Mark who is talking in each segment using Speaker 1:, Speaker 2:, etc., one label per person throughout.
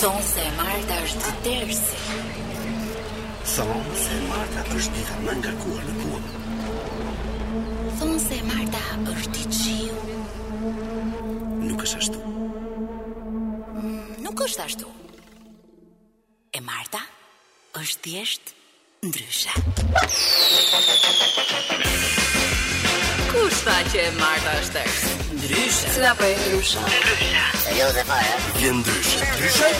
Speaker 1: Thonë se e Marta është tërsi.
Speaker 2: Thonë se Marta është dita më ngarkuar në kumë.
Speaker 1: Thonë se e Marta është i qiu.
Speaker 2: Nuk është ashtu.
Speaker 1: Nuk është ashtu. E Marta është thjesht ndryshe. Kush tha që e Marta është tërsi? Ndryshe. Si ta bëj ndryshe?
Speaker 2: Vjen ndryshe. Ndryshe?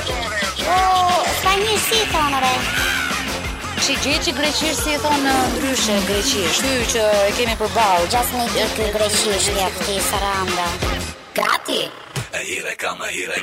Speaker 3: Ka një si thonë re
Speaker 4: Që gjë që greqisht si e thonë ndryshe greqisht. Ky që e kemi përballë.
Speaker 3: Gjas një i këj greqisht ja këti saranda Gati
Speaker 2: E hire kam, e hire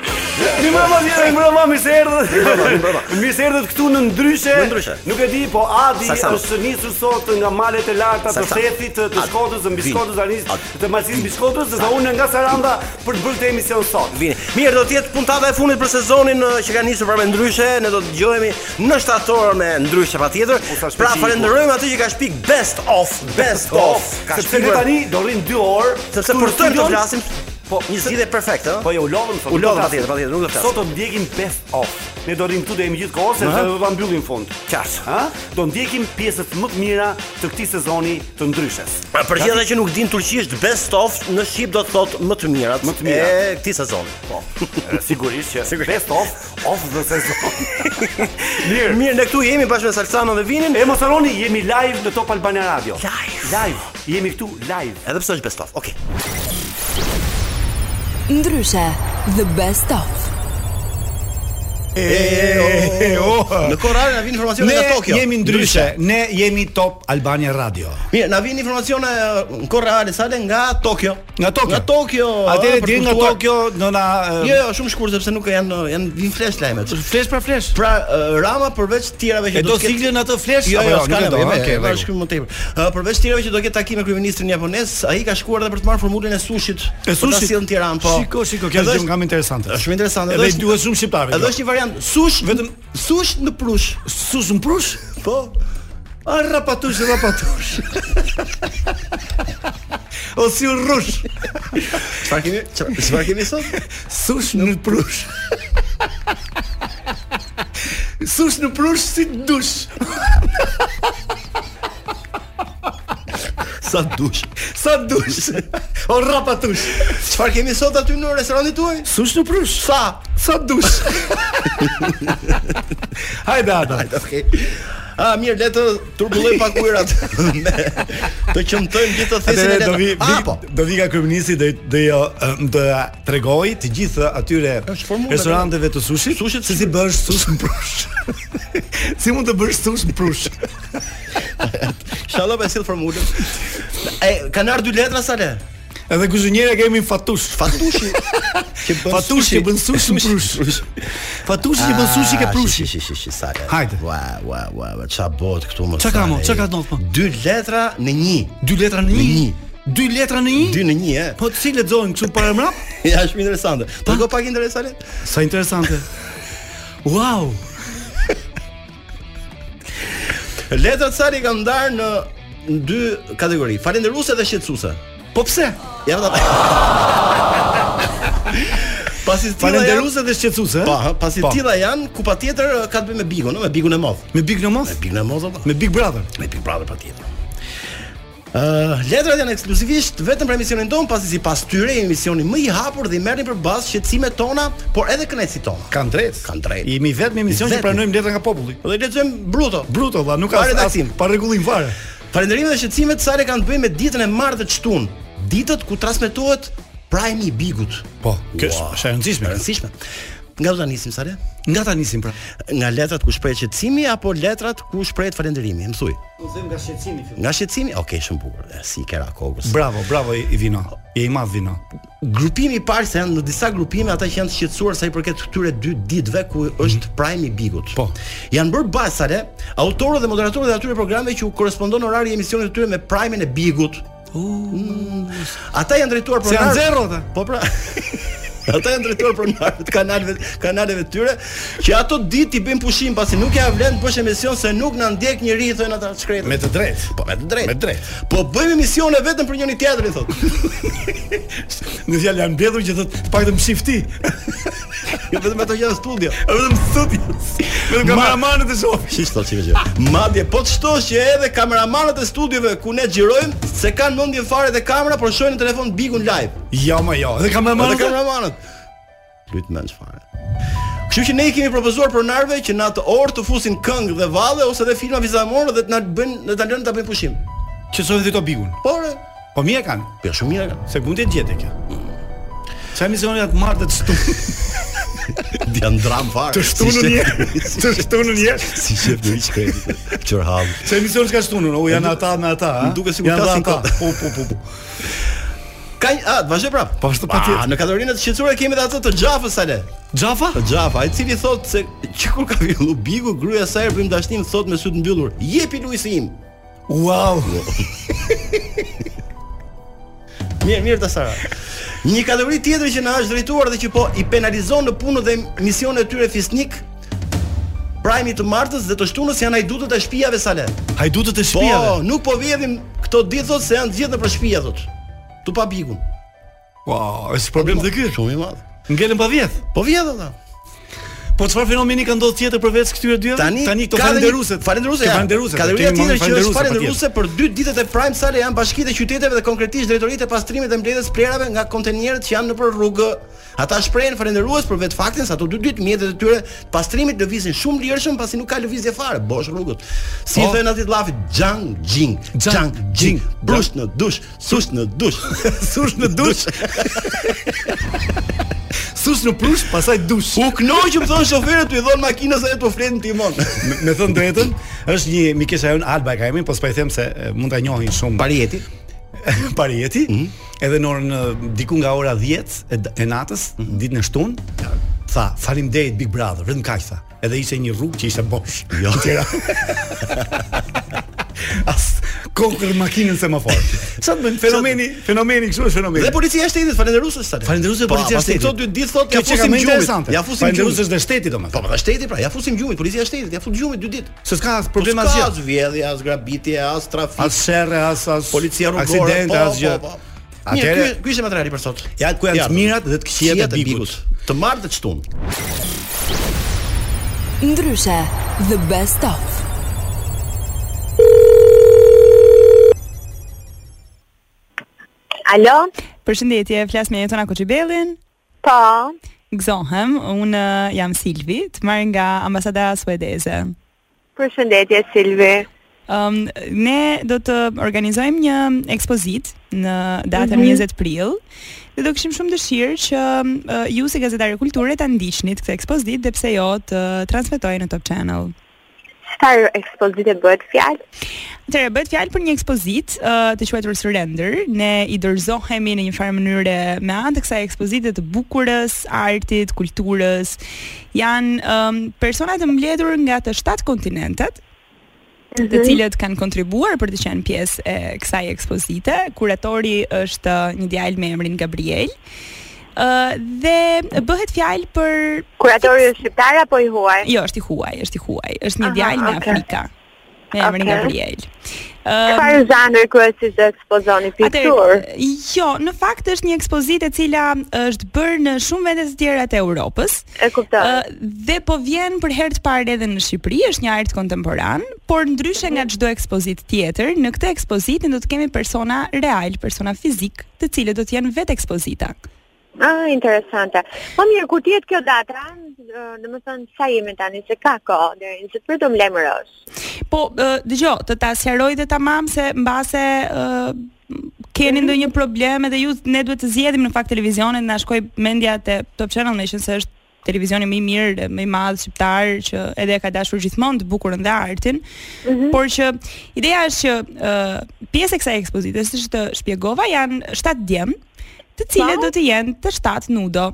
Speaker 5: Mi mama, mi mama, mi se erdhët. Mi se erdhët këtu në ndryshe.
Speaker 6: Në ndryshe.
Speaker 5: Nuk e di, po Adi
Speaker 6: Saksa.
Speaker 5: është nisur sot nga malet e larta të
Speaker 6: Saksa.
Speaker 5: shtetit, të- të
Speaker 6: Adi.
Speaker 5: Shkodrës, të mbi
Speaker 6: Vin.
Speaker 5: Shkodrës, Arnis,
Speaker 6: Adi.
Speaker 5: të Malsis mbi Shkodrës, dhe unë nga Saranda për të bërë këtë emision sot.
Speaker 6: Vini. Mirë, do të jetë puntata e fundit për sezonin ë, që ka nisur për me ndryshe, ne do të dëgjohemi në shtator me ndryshe patjetër.
Speaker 5: U, sa shpejt
Speaker 6: Pra
Speaker 5: i
Speaker 6: falenderojmë atë që ka shpik best of, best of. Ka
Speaker 5: sepse ne
Speaker 6: shpikur-
Speaker 5: tani do rrim 2 orë,
Speaker 6: sepse
Speaker 5: këtu në
Speaker 6: për të të
Speaker 5: studion.
Speaker 6: flasim. Po, një zgjidhje perfekte, ë?
Speaker 5: Po jo, u lodhëm sot.
Speaker 6: U lodhëm,
Speaker 5: nuk do
Speaker 6: patjetër,
Speaker 5: flasim.
Speaker 6: patjetër, nuk do flasim.
Speaker 5: Sot do ndjekim best of. Ne do rrim këtu deri më gjithë kohë sepse do ta mbyllim fund.
Speaker 6: Qartë.
Speaker 5: Ha? Do ndjekim pjesët më të mira të këtij sezoni të ndryshes.
Speaker 6: Pra, Për gjithë ata që nuk din turqisht, best of në shqip do të thotë më të mirat,
Speaker 5: Më të mirat.
Speaker 6: e këtij sezoni. Po.
Speaker 5: E, Sigurisht që
Speaker 6: Sigurisht.
Speaker 5: best of of the sezon. Mirë.
Speaker 6: Mirë, ne këtu jemi bashkë me Salsano dhe Vinin.
Speaker 5: E mos harroni, jemi live në Top Albania Radio.
Speaker 6: Live.
Speaker 5: Live. Jemi këtu live.
Speaker 6: Edhe pse është best of. Okej.
Speaker 7: Ndryshe, the best of.
Speaker 6: Në korare na vin informacione
Speaker 8: Ne
Speaker 6: nga Tokyo.
Speaker 8: jemi ndryshe, ne jemi Top Albania Radio.
Speaker 6: Mirë, na vin informacione uh, në korare sale nga Tokyo.
Speaker 8: Nga Tokyo.
Speaker 6: Nga Tokyo.
Speaker 8: Atëre
Speaker 6: ah, për
Speaker 8: deri nga
Speaker 6: kuptuar-
Speaker 8: Tokyo do na
Speaker 6: Jo, jo, shumë shkurt sepse nuk janë uh, janë vin flesh lajmet.
Speaker 8: flesh pra flesh.
Speaker 6: Pra uh, Rama përveç të tjerave që
Speaker 8: E do
Speaker 6: të ketë-
Speaker 8: siklin atë flesh
Speaker 6: Jo,
Speaker 8: apo
Speaker 6: jo,
Speaker 8: jo,
Speaker 6: s'ka
Speaker 8: nuk e do,
Speaker 6: nevojë,
Speaker 8: okay,
Speaker 6: e
Speaker 8: rregull.
Speaker 6: bashkë më tepër. Ë, përveç tjerave që do ketë takim me kryeministrin japonez, ai ka shkuar edhe për të marrë formulën e sushit.
Speaker 8: E
Speaker 6: Për ta
Speaker 8: sushit?
Speaker 6: sjellë në Tiranë, po.
Speaker 8: Shiko, shiko, kjo
Speaker 6: Edhe
Speaker 8: është
Speaker 6: është-
Speaker 8: gjë nga më interesante.
Speaker 6: Është shumë interesante.
Speaker 8: Edhe
Speaker 6: është-
Speaker 8: i duhet shumë jo. shqiptarëve,
Speaker 6: Edhe
Speaker 8: kjo.
Speaker 6: është një variant sush Jo. vetëm sush në prush.
Speaker 8: Sus në prush?
Speaker 6: Po. A rapatush, rapatush.
Speaker 8: O si u rrush?
Speaker 6: Çfarë kemi? çfarë- Çfarë kemi sot?
Speaker 8: Sush në prush. Sush në prush si dush.
Speaker 6: Sa dush.
Speaker 8: Sa dush. O rapatush.
Speaker 6: Çfarë kemi sot aty në restorantin tuaj?
Speaker 8: Sush në prush.
Speaker 6: Sa?
Speaker 8: Sa dush. Hajde ata.
Speaker 6: Okej. A mirë, le të turbulloj pak ujërat. Me- të qëmtojmë gjithë të thesin e
Speaker 8: Atëherë do vi,
Speaker 6: letrave.
Speaker 8: vi
Speaker 6: A po.
Speaker 8: do vi nga kryeministri do do jo ëm, do ja tregoj të gjithë atyre
Speaker 6: Është formulë,
Speaker 8: restoranteve të sushit, sushit se si bësh sush në prush. si mund të bësh sush në prush?
Speaker 6: Inshallah pa sill formulën. E kanë ardhur dy letra sa le?
Speaker 8: Edhe kuzhinjera kemi fatush.
Speaker 6: Fatushi. Që bën
Speaker 8: Fatush që bën sush në prush. Fatush që bën sushi ke prushi.
Speaker 6: Ah, Shi, shi, shi, sa le.
Speaker 8: Hajde.
Speaker 6: Ua, ua, ua, ua, ç'a bëhet këtu më?
Speaker 8: Ç'a
Speaker 6: sa
Speaker 8: ka
Speaker 6: le,
Speaker 8: mo, ç'a
Speaker 6: e?
Speaker 8: ka ndodhur, po?
Speaker 6: Dy letra në një.
Speaker 8: Dy letra në
Speaker 6: Në
Speaker 8: një.
Speaker 6: një.
Speaker 8: Dy Jo, letra në një.
Speaker 6: Dy në një, e.
Speaker 8: Po të si lexojnë kështu para mbrap?
Speaker 6: Ja, shumë interesante. Të go pak interesante.
Speaker 8: Sa interesante. Wow.
Speaker 6: Letrat sa le kanë ndarë në në dy kategori, falendëruese dhe shqetësuese.
Speaker 8: Po pse?
Speaker 6: Ja ta. Pasi tilla
Speaker 8: Falënderuese dhe shqetësuese.
Speaker 6: janë- Po, ha, pasi
Speaker 8: Po.
Speaker 6: tilla janë, ku patjetër eh, ka të bëjë me bigun, ëh, me bigun e modh.
Speaker 8: Me Big Nomoth,
Speaker 6: Bigun e modh apo?
Speaker 8: me Big Brother.
Speaker 6: Me Big Brother patjetër. Ë, Eh, letrat janë ekskluzivisht vetëm për emisionin ton, pasi sipas tyre jemi emisioni më i hapur dhe i merrni për bazë shqetësimet tona, por edhe kënaqësitë tona.
Speaker 8: Kan drejt.
Speaker 6: Kanë drejt.
Speaker 8: Jemi vetëm emision që
Speaker 6: Vetëm.
Speaker 8: pranojmë letra nga populli.
Speaker 6: Dhe i lexojmë bruto.
Speaker 8: Bruto valla, nuk ka
Speaker 6: Pa
Speaker 8: as- as
Speaker 6: redaktim.
Speaker 8: pa rregullim fare.
Speaker 6: Falënderimet dhe shqetësimet sa le kanë të bëjnë me ditën e martë të çtun, ditët ku transmetohet prajmi i bigut.
Speaker 8: Po, kjo
Speaker 6: Ua,
Speaker 8: është e rëndësishme.
Speaker 6: e rëndësishme. Nga do ta nisim sa le?
Speaker 8: Nga ta nisim pra.
Speaker 6: Nga letrat ku shprehet qetësimi apo letrat ku shprehet falënderimi? Më thuaj. Nga shqetësimi? Okej, shumë bukur. E, Si i kera kokës.
Speaker 8: Bravo, bravo i i vino. Je i madh vino.
Speaker 6: Grupimi i parë se janë në disa grupime ata që janë të shqetësuar sa i përket këtyre dy ditëve ku është prime i bigut.
Speaker 8: Mhm. Po.
Speaker 6: Janë bërë basale autorët dhe moderatorët e atyre programeve që u korrespondon orari i emisionit të tyre me primin e bigut. Mm. Ata janë drejtuar për
Speaker 8: Se janë
Speaker 6: orarë-
Speaker 8: zero ata.
Speaker 6: Po pra. Ata janë drejtuar pronarëve të kanaleve kanaleve të tyre që ato ditë i bëjnë pushim pasi nuk ja vlen të bësh emision se nuk na ndjek njëri thonë ata shkretë.
Speaker 8: Me të drejtë.
Speaker 6: Po me të drejtë.
Speaker 8: Me të drejtë.
Speaker 6: Po bëjmë emisione vetëm për njëri tjetrin thotë.
Speaker 8: Në fjalë janë mbledhur që thotë pak të mshif ti.
Speaker 6: Jo vetëm ato që janë në studio.
Speaker 8: A Vetëm studi. Vetëm kameramanët e shohin.
Speaker 6: Shish thotë çive gjë. Madje po të shtosh që edhe kameramanët e studiove ku ne xhirojmë se kanë mendjen fare te kamera por shohin në telefon bikun live.
Speaker 8: Jo, më jo. Edhe
Speaker 6: Edhe
Speaker 8: kameramanët.
Speaker 6: kameramanët. Lut mend fare. Kështu që ne i kemi propozuar pronarëve që në atë orë të fusin këngë dhe valle ose edhe filma vizamorë dhe të na bëjnë dhe ta lënë ta bëjnë pushim.
Speaker 8: Që sot ti to bigun.
Speaker 6: Por e,
Speaker 8: Po mirë kanë.
Speaker 6: po shumë mirë. ka.
Speaker 8: Se mund të gjetë kjo. Sa emisione atë martë të shtunë
Speaker 6: Di janë dram fare.
Speaker 8: Të shtunën një Të shtunën një
Speaker 6: Si shef do i shkretit. Çorhall.
Speaker 8: Sa emisione s'ka shtunën O janë ata me ata
Speaker 6: Më duket sikur kasin
Speaker 8: kod
Speaker 6: kod.
Speaker 8: Po po po po
Speaker 6: Ka një- a, të vazhdoj prap.
Speaker 8: Po, ashtu patjetër.
Speaker 6: A, Në kategorinë të shqetësuara kemi edhe atë të Xhafës sale.
Speaker 8: Xhafa?
Speaker 6: Të Xhafa, i cili thotë se që kur ka fillu biku, gruaja sa herë bëjmë dashnim thotë me sy të mbyllur. Jepi Luisi im.
Speaker 8: Wow
Speaker 6: Mirë, mirë ta Sara. Një kategori tjetër që na është drejtuar dhe që po i penalizon në punën dhe misionet e tyre fisnik Prime të martës dhe të shtunës janë ai dutët e shtëpiave sale.
Speaker 8: Hajdutët e
Speaker 6: Po,
Speaker 8: shtëpiave
Speaker 6: nuk po vjedhim këto ditë thotë se janë të gjithë nëpër shtëpia thotë. Tu pa bikun.
Speaker 8: Wow, është problem dhe ky.
Speaker 6: Shumë i madh.
Speaker 8: Ngelen pa 10.
Speaker 6: Po vjedh ata.
Speaker 8: Po çfarë fenomeni ka ndodhur tjetër përveç këtyre dyve?
Speaker 6: Tani
Speaker 8: tani këto
Speaker 6: ka dhe një-
Speaker 8: falenderuset.
Speaker 6: Falenderuset.
Speaker 8: Kjo
Speaker 6: ja.
Speaker 8: Falenderuset.
Speaker 6: Kategoria
Speaker 8: Kemi
Speaker 6: tjetër që është
Speaker 8: pa
Speaker 6: falenderuese për dy ditët e Prime Sale janë bashkitë e qyteteve dhe konkretisht drejtoritë e pastrimit dhe mbledhjes plerave nga kontenerët që janë nëpër rrugë. Ata shprehen falendërues për vetë faktin se ato dy ditë mjetet e tyre pastrimit lëvizin shumë lirshëm pasi nuk ka lëvizje fare, bosh rrugët. Si
Speaker 8: Po.
Speaker 6: thënë atit llafit, xhang xhing, xhang xhing, brush në dush, sush në dush.
Speaker 8: Sush në dush. Sush në prush, pastaj dush.
Speaker 6: U knoqëm thon shoferët, u i dhon makinës edhe tu fletin timon.
Speaker 8: Me- Me thënë drejtën, është një mikesha jon Alba e ka emrin, po s'pa i them se e, mund ta njohin shumë.
Speaker 6: Parieti.
Speaker 8: Parieti. Edhe në orën e, diku nga ora 10 e, d- e natës, ditën e shtunë, tha, "Faleminderit Big Brother, vetëm kaq tha." Edhe ishte një rrugë që ishte bosh. Jo. Tjera. As kokër makinën semafor. Sa të bën fenomeni, fenomeni kështu është fenomeni.
Speaker 6: Dhe policia e shtetit falendëruese sale.
Speaker 8: Falendëruese
Speaker 6: Po,
Speaker 8: policia e
Speaker 6: pasi
Speaker 8: shtetit.
Speaker 6: Këto dy ditë thotë ja
Speaker 8: Kjo që ka
Speaker 6: fusim
Speaker 8: më
Speaker 6: gjumit.
Speaker 8: interesante.
Speaker 6: Ja fusim
Speaker 8: Falendërues
Speaker 6: gjumit.
Speaker 8: është dhe shteti
Speaker 6: Po
Speaker 8: domethënë.
Speaker 6: pra shteti pra, ja fusim gjumit, policia e shtetit, ja fut gjumit dy ditë.
Speaker 8: Se Po s'ka as
Speaker 6: Problem
Speaker 8: problem
Speaker 6: as
Speaker 8: asgjë.
Speaker 6: Po, as vjedhje, as grabitje, as trafik,
Speaker 8: As sherrë, as as
Speaker 6: policia rrugore,
Speaker 8: aksidente,
Speaker 6: po,
Speaker 8: asgjë.
Speaker 6: po, po. Mirë,
Speaker 8: Atëre,
Speaker 6: ky ky ishte materiali për sot.
Speaker 8: ja ku janë të mirat dhe të këqijat e bigut.
Speaker 6: Të martë të çtun.
Speaker 7: Ndryshe, the best of.
Speaker 9: Alo?
Speaker 10: Përshëndetje, flas me Jetona Koçibellin.
Speaker 9: Po.
Speaker 10: Gëzohem, unë eh, jam Silvi, të marrë nga ambasada suedeze.
Speaker 9: Përshëndetje Silvi.
Speaker 10: Um, ne do të organizojmë një ekspozit në datën 20 prill dhe do kishim shumë dëshirë që uh, ju si gazetarë kulture ta ndiqnit këtë ekspozit dhe pse jo të transmetojë në Top Channel.
Speaker 9: Çfarë ekspozite bëhet fjalë?
Speaker 10: Atëherë bëhet fjalë për një ekspozit uh, të quajtur Surrender. Ne i dorëzohemi në një farë mënyre me anë të kësaj ekspozite të bukurës, artit, kulturës. Janë um, persona të mbledhur nga të 7 kontinentet
Speaker 9: Mhm.
Speaker 10: të cilët kanë kontribuar për të qenë pjesë e kësaj ekspozite. Kuratori është uh, një djalë me emrin Gabriel. Uh, dhe bëhet fjalë për
Speaker 9: Kuratori është shqiptar apo i huaj?
Speaker 10: jo, është i huaj, është i huaj. Është një
Speaker 9: Aha,
Speaker 10: djalë nga
Speaker 9: okay.
Speaker 10: Afrika me emrin
Speaker 9: Okay.
Speaker 10: Gabriel. Um,
Speaker 9: Çfarë zanër kryesisht do ekspozoni pikturë?
Speaker 10: Atëherë, jo, në fakt është një ekspozitë e cila është bërë në shumë vende të tjera të Europës.
Speaker 9: E kuptoj.
Speaker 10: Ë, dhe po vjen për herë të parë edhe në Shqipëri, është një art kontemporan, por ndryshe nga çdo ekspozitë tjetër, në këtë ekspozitë ne do të kemi persona real, persona fizik, të cilët do të jenë vetë ekspozita.
Speaker 9: Ah, interesante. Po mirë, kur ti kjo data, ë, domethënë sa jemi tani se ka kohë deri në sepër do mlemërosh.
Speaker 10: Po, ë, dëgjo, të ta sqaroj dhe tamam se mbase ë,
Speaker 9: Mhm.
Speaker 10: keni ndonjë problem edhe ju ne duhet të zgjedhim në fakt televizionin, na shkoi mendja te Top Channel Nation se është televizioni më i mirë, dhe më i madh shqiptar që edhe e ka dashur gjithmonë të bukurën dhe artin,
Speaker 9: Mhm.
Speaker 10: por që ideja është që uh, pjesë e kësaj ekspozite, siç të shpjegova, janë 7 djem, të cilët
Speaker 9: Po.
Speaker 10: do të jenë të 7 nudo.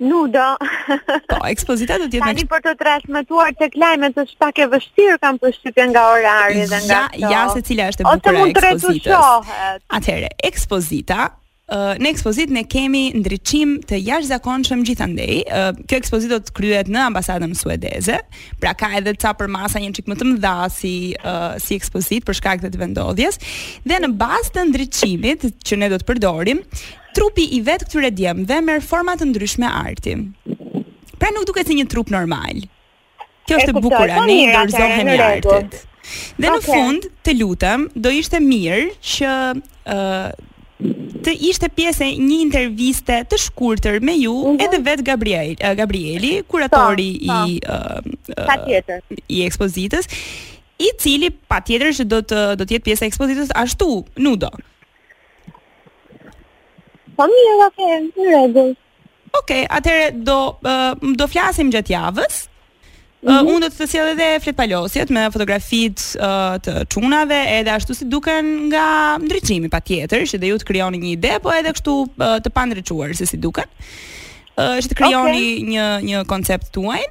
Speaker 9: Nudo.
Speaker 10: Po, ekspozita do të jetë me
Speaker 9: Tani për të transmetuar tek lajmet është pak e vështirë kam përshtypjen nga orari dhe nga
Speaker 10: Ja,
Speaker 9: këto.
Speaker 10: ja se cila është e
Speaker 9: Ose
Speaker 10: bukura e
Speaker 9: mund të
Speaker 10: ekspozitës.
Speaker 9: retushohet.
Speaker 10: Atëherë, ekspozita ë, Uh, në ekspozit ne kemi ndriçim të jashtëzakonshëm gjithandej. Uh, kjo ekspozitë do të kryhet në ambasadën suedeze. Pra ka edhe ca përmasa një çik më të mëdha si uh, si ekspozitë për shkak të të vendodhjes dhe në bazë të ndriçimit që ne do të përdorim, trupi i vet këtyre djemve merr forma të ndryshme arti. Pra nuk duket si një trup normal. Kjo
Speaker 9: E
Speaker 10: është e
Speaker 9: kuptoj,
Speaker 10: bukura,
Speaker 9: po
Speaker 10: ne i
Speaker 9: mirë, atëherë,
Speaker 10: dorëzohemi
Speaker 9: në rregull.
Speaker 10: artit. Dhe në
Speaker 9: Okej.
Speaker 10: fund, të lutem, do ishte mirë që ë të ishte pjesë e një interviste të shkurtër me ju edhe vet Gabriel ë, Gabrieli, kuratori
Speaker 9: Po, po.
Speaker 10: i ë, ë,
Speaker 9: Patjetër.
Speaker 10: i ekspozitës, i cili patjetër që do të do të jetë pjesë e ekspozitës ashtu, nudo.
Speaker 9: Po mirë, okay, në rregull.
Speaker 10: Okej, atëherë do uh, do flasim gjatë javës. Uh, unë do të të sjell edhe fletpalosjet me fotografitë uh, të çunave, edhe ashtu si duken nga ndriçimi patjetër, që dhe ju të krijoni një ide, po edhe kështu uh, të pandriçuar se si duken. Uh, që të krijoni një një koncept tuaj.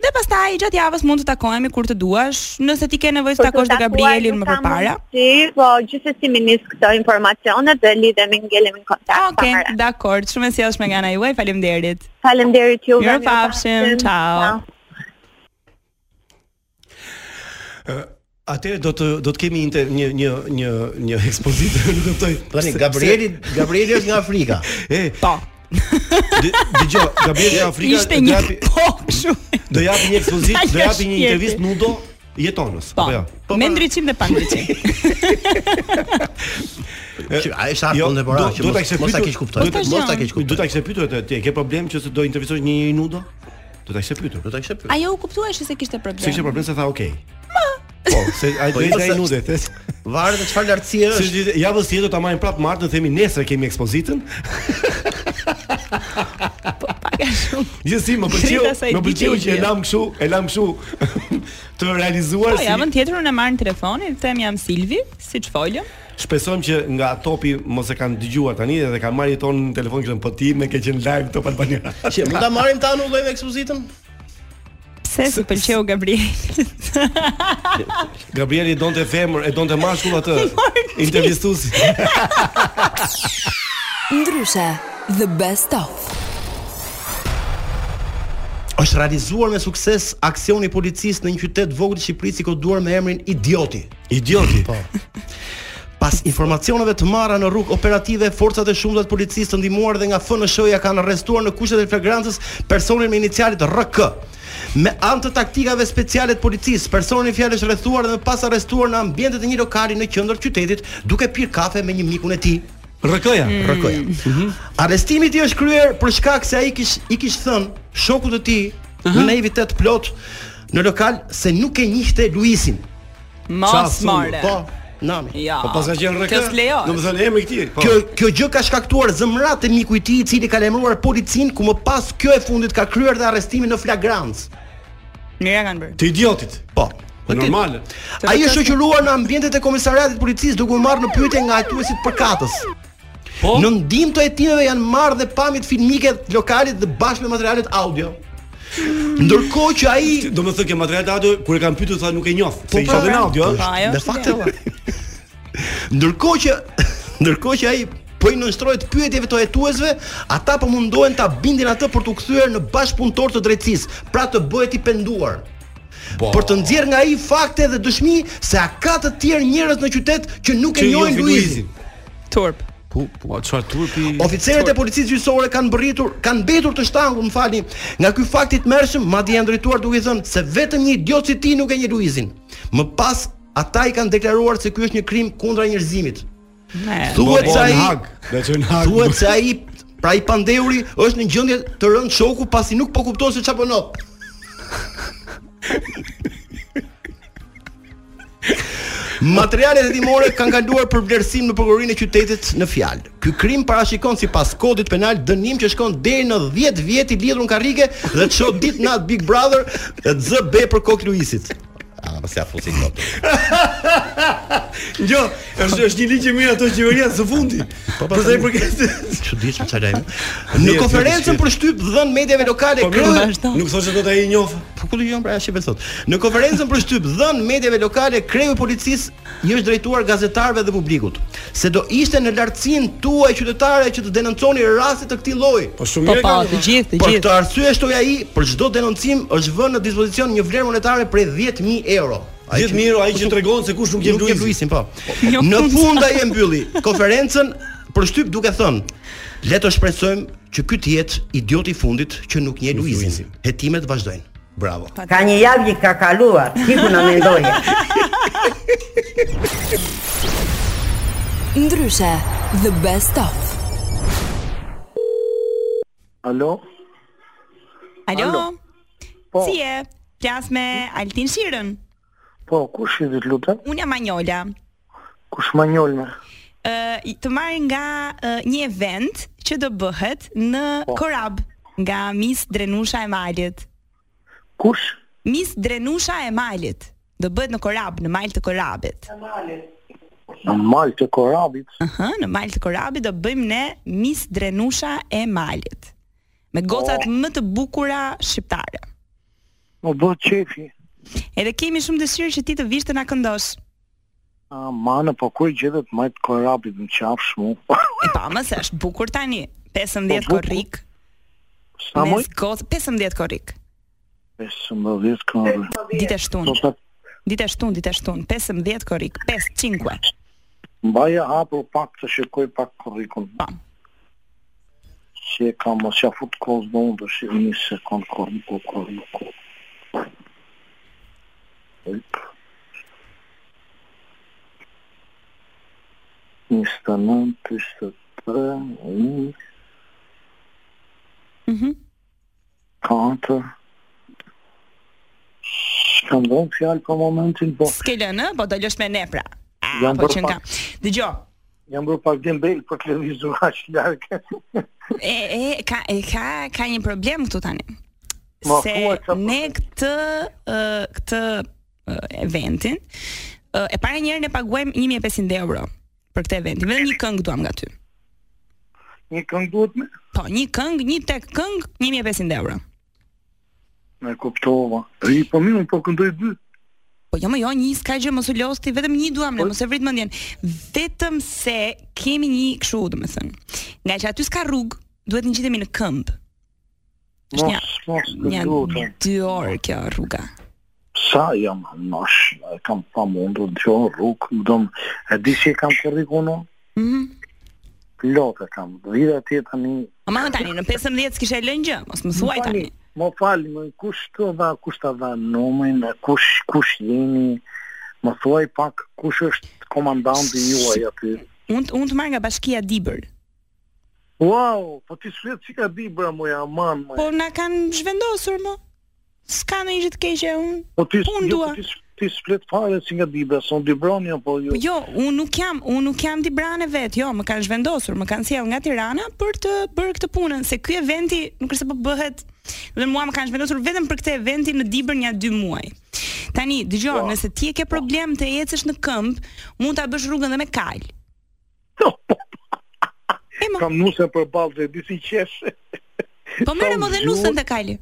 Speaker 10: Dhe pastaj gjatë javës mund të takohemi kur të duash, nëse ti ke nevojë të takosh dhe Gabrielin më përpara.
Speaker 9: Si, po gjithsesi më nis këto informacione dhe lidhemi ngelemi në kontakt.
Speaker 10: Ah, Okej,
Speaker 9: pa marrë.
Speaker 10: dakor. Shumë e sjellshme nga ana juaj. Faleminderit.
Speaker 9: Faleminderit juve.
Speaker 10: Mirupafshim,
Speaker 9: mirupafshim,
Speaker 10: ciao.
Speaker 2: Atëherë do të do të kemi inter, një një një një ekspozitë, nuk kuptoj.
Speaker 6: Po, Tani
Speaker 2: Se-
Speaker 6: Gabrieli, Gabrieli është nga Afrika.
Speaker 2: se- E,
Speaker 10: Po.
Speaker 2: dë- dëgjoj, Gabrieli nga Afrika
Speaker 10: Ishte
Speaker 2: do
Speaker 10: një
Speaker 2: japi
Speaker 10: po kështu.
Speaker 2: do japi një ekspozitë, do japi një
Speaker 10: Shqeti.
Speaker 2: intervistë nudo jetonës,
Speaker 10: Po.
Speaker 2: apo jo?
Speaker 10: po me ndriçim dhe pa ndriçim.
Speaker 6: Që ai është art kontemporan, që
Speaker 2: Jo, do ta
Speaker 6: mos-
Speaker 2: kishe
Speaker 6: mos ta
Speaker 2: pyetur-
Speaker 6: keq kuptoj.
Speaker 10: Po,
Speaker 6: Mos ta
Speaker 10: tash
Speaker 6: keq
Speaker 2: Do
Speaker 6: kuptoj.
Speaker 2: ta kishe pyetur atë, ti e ke problem që se do intervistosh një njeri nudo? Do ta kishe pyetur.
Speaker 6: Do ta kishe pyetur.
Speaker 10: Ajo u kuptua se kishte problem.
Speaker 2: Se kishte problem se tha okay. Po, se ai do të
Speaker 6: jo,
Speaker 2: ai
Speaker 6: se-
Speaker 2: nude, thes.
Speaker 6: Varet se çfarë lartësie
Speaker 2: Se
Speaker 6: është.
Speaker 2: gjithë- javës tjetër do ta marrim prapë martën, themi nesër kemi ekspozitën.
Speaker 10: Pak a shumë.
Speaker 2: Gjithsesi, më pëlqeu,
Speaker 10: Drejt asaj
Speaker 2: më pëlqeu
Speaker 10: dite
Speaker 2: që e
Speaker 10: ideja.
Speaker 2: lam kështu, e lam kështu të realizuar
Speaker 10: Po
Speaker 2: si
Speaker 10: javën tjetër unë e marr në telefon, i them jam Silvi, siç folëm.
Speaker 2: Shpresojmë që nga topi mos e kanë dëgjuar tani dhe kanë marrë ton në telefon që po ti me ke qenë live top Albania.
Speaker 6: Që mund ta marrim ta anullojmë ekspozitën?
Speaker 10: Pse si pëlqeu Gabriel?
Speaker 2: Gabrieli donte femër, e donte mashkull atë intervistuesi.
Speaker 7: Ndryshe, the best of.
Speaker 6: Është realizuar me sukses aksioni i policisë në një qytet vogël të Shqipërisë i koduar me emrin Idioti.
Speaker 2: Idioti.
Speaker 6: Po. Pas informacioneve të marra në rrugë operative, forcat e shumta të policisë të ndihmuar dhe nga FNSH-ja kanë arrestuar në kushtet e flagrancës personin me inicialet RK. Me anë të taktikave speciale të policisë, personi fjalë është rrethuar dhe më pas arrestuar në ambientet e një lokali në qendër të qytetit, duke pirë kafe me një mikun e tij.
Speaker 2: Rrkoja.
Speaker 6: Rkoja. Arrestimi i tij është kryer për shkak se ai kish i kish thënë shokut të tij në naivitet plot në lokal se nuk e njihte Luisin.
Speaker 10: Mos more.
Speaker 6: Po, nami.
Speaker 10: Ja.
Speaker 2: Po pas ka qenë rrkë.
Speaker 10: Kjo jo. s'lejohet.
Speaker 2: Domethënë emri i këtij. Po.
Speaker 6: Kjo kjo gjë ka shkaktuar zëmrat e miku i tij i cili ka lajmëruar policin ku më pas kjo e fundit ka kryer dhe arrestimin në flagrancë.
Speaker 10: Mira kanë bërë.
Speaker 2: të idiotit.
Speaker 6: Po.
Speaker 2: Po normal.
Speaker 6: Ai është shoqëruar në ambientet e komisariatit të policisë duke u marrë në pyetje nga hetuesit përkatës.
Speaker 2: Po.
Speaker 6: Në ndihmë të hetimeve janë marrë dhe pamjet filmike të lokalit dhe bashkë me materialet audio. Ndërkohë që ai
Speaker 2: Domethënë ke material të audio kur e kanë pyetur tha nuk e njoh.
Speaker 6: Po,
Speaker 2: Se ishte
Speaker 6: po,
Speaker 2: edhe në audio,
Speaker 10: Po
Speaker 2: ëh.
Speaker 10: ajo.
Speaker 6: Dhe
Speaker 10: është
Speaker 6: fakte
Speaker 10: ideja.
Speaker 6: ndërkohë që ndërkohë që ai po i nënshtrohet pyetjeve të hetuesve, ata po mundohen ta bindin atë për t'u kthyer në bashkëpunëtor të drejtësisë, pra të bëhet i penduar. Për të nxjerrë nga ai fakte dhe dëshmi se a ka të tjerë njerëz në qytet që nuk
Speaker 2: Që
Speaker 6: e
Speaker 2: i
Speaker 6: njohin
Speaker 2: njohin
Speaker 6: Luizin.
Speaker 10: Turp.
Speaker 2: Po çfarë turpi?
Speaker 6: Oficerët e policisë gjyqësore kanë mbërritur, kanë mbetur të shtangur, më falni, nga ky fakt i tmerrshëm, madje janë drejtuar duke thënë se vetëm një idiot si ti nuk e njeh Luizin. Më pas ata i kanë deklaruar se ky është një krim kundra njerëzimit.
Speaker 10: Ne.
Speaker 6: Thuhet se
Speaker 2: Po, në
Speaker 6: ai
Speaker 2: Hag. Do të në Hag.
Speaker 6: thuhet se ai pra i pandehuri është në gjendje të rënë shoku pasi nuk po kupton se çfarë bën. Materialet hetimore kanë kaluar për vlerësim në prokurorinë e qytetit në fjalë. Ky krim parashikon sipas kodit penal dënim që shkon deri në 10 vjet i lidhur në karrige dhe të shoh ditë nat Big Brother ZB për Kok Luisit. Ah, pse ja fusin kot.
Speaker 8: Jo, është është një ligj i mirë ato qeveria së fundi. Po Për sa i përket
Speaker 6: çuditshëm çajm. Në konferencën për shtyp dhën mediave lokale kreu
Speaker 8: Nuk thoshte dot ai i njoh.
Speaker 6: Po ku dëgjon pra ashtu besot. Në konferencën për shtyp dhën mediave lokale kreu i policisë i është drejtuar gazetarëve dhe publikut se do ishte në lartësinë tuaj qytetare që të denonconi raste të këtij lloji.
Speaker 8: Po shumë
Speaker 10: Po
Speaker 8: mirë
Speaker 10: po,
Speaker 8: ka.
Speaker 10: të gjithë, të
Speaker 6: Për
Speaker 10: gjithë.
Speaker 6: këtë arsye shtoi ai për çdo denoncim është vënë në dispozicion një vlerë monetare prej 10000 euro. Ai
Speaker 8: 10 mirë ai që tregon se kush nuk jep
Speaker 6: Nuk jep
Speaker 8: Luiz.
Speaker 6: Luisin, po.
Speaker 10: Jo,
Speaker 6: Në
Speaker 10: punca.
Speaker 6: fund ai e mbylli konferencën për shtyp duke thënë, le të shpresojmë që ky të jetë idioti i fundit që nuk njeh Luisin. Hetimet vazhdojnë.
Speaker 8: Bravo.
Speaker 2: Ka një javë që ka kaluar, hiku në mendoje.
Speaker 11: Ndryshe, the best of.
Speaker 9: Alo?
Speaker 10: Alo.
Speaker 9: Po.
Speaker 10: Si je? Plas me Altin Shirën.
Speaker 9: Po, kush je ditë lutem?
Speaker 10: Unë jam Anjola.
Speaker 9: Kush ma njolme?
Speaker 10: Ë i- të marr nga ë, një event që do bëhet në Korab nga Miss Drenusha e Malit.
Speaker 9: Kush?
Speaker 10: Miss Drenusha e Malit. Do bëhet në Korab, në mal të Korabit.
Speaker 9: Në malë të korabit.
Speaker 10: Aha, në mal të Korabit do bëjmë ne Miss Drenusha e Malit. Me gocat më të bukura shqiptare.
Speaker 9: Oh. Më bëtë qefi.
Speaker 10: Edhe kemi shumë dëshirë që ti të vish të na këndosh.
Speaker 9: A, manë, po kur gjedet majtë korabit në qafë shmu?
Speaker 10: E pa, mëse është bukur tani. 15
Speaker 9: Po, bukur.
Speaker 10: korrik.
Speaker 9: Sa
Speaker 10: mes
Speaker 9: moj?
Speaker 10: goc- 15 korrik.
Speaker 9: 15 korabit.
Speaker 10: Ditë shtun.
Speaker 9: Do të
Speaker 10: Ditë shtun, ditë shtun. 15 korrik, 5 5.
Speaker 9: mbaja hapur pak të shikoj pak korrikun.
Speaker 10: Pa.
Speaker 9: Që e kam, mos ja fut kohës do unë të shikoj një sekund korriku, korriku. Ejp. Njështë të nënë, të tre, një,
Speaker 10: Mhm.
Speaker 9: katër. Kam dhënë fjalë për momentin, po
Speaker 10: S'ke lënë, po do lësh me ne pra. A,
Speaker 9: Jam
Speaker 10: po
Speaker 9: bërë
Speaker 10: që nga. Dëgjoj.
Speaker 9: jam bërë pak dembel për të lëvizur aq larg.
Speaker 10: E e ka e ka ka një problem këtu tani.
Speaker 9: Ma,
Speaker 10: Se
Speaker 9: thua çfarë
Speaker 10: ne këtë ë, këtë ë, eventin ë, e para njëherë ne paguajmë 1500 euro për këtë event. Vetëm një këngë duam nga ty.
Speaker 9: Një këngë duhet me?
Speaker 10: Po, një këngë, një tek këngë 1500 euro.
Speaker 9: Me kuptova. I po mirë, po këndoj dy.
Speaker 10: Po jo, më jo, një s'ka gjë mos u losti, vetëm një duam ne, mos e vrit mendjen. Vetëm se kemi një kështu, domethënë. Nga që aty s'ka rrugë, duhet të ngjitemi në këmbë. Është
Speaker 9: Mos,
Speaker 10: një
Speaker 9: mos të
Speaker 10: një
Speaker 9: lutem.
Speaker 10: dy orë kjo rruga.
Speaker 9: Sa jam nash, e kam pa mundur të gjohë rrugë, më dëmë, e di që e kam kërrikun unë,
Speaker 10: Mhm.
Speaker 9: plotë e kam, dhira tje tani,
Speaker 10: Ama më tani në 15 s'kishe lënë gjë, mos më thuaj tani.
Speaker 9: më fali, më kush të dha, kush të dha numën, e kush, kush jeni, më thuaj pak, kush është komandanti juaj aty.
Speaker 10: Unë unë të marr nga bashkia Dibër.
Speaker 9: Wow, po ti shvet që ka di, bra, më aman, më.
Speaker 10: Po na kanë zhvendosur më. S'ka në gjë të keqe unë.
Speaker 9: Po ti,
Speaker 10: unë
Speaker 9: jo,
Speaker 10: dua.
Speaker 9: po ti, s- ti shvet fare që nga di, bra, son di brani, apo jo.
Speaker 10: Po jo, unë nuk jam, unë nuk jam Tibranë vet, jo, më kanë zhvendosur, më kanë sjell nga Tirana për të bërë këtë punën, se ky eventi nuk është se po bëhet, do të mua më kanë zhvendosur vetëm për këtë eventi në Dibër një dy muaj. Tani, dëgjoj,
Speaker 9: Po.
Speaker 10: nëse ti e ke problem të ecësh në këmbë, mund ta bësh rrugën dhe me kal. E më,
Speaker 9: Kam nuse për balë dhe disi qeshe.
Speaker 10: po merrem
Speaker 9: kam
Speaker 10: edhe
Speaker 9: zhur-
Speaker 10: nusën te kali.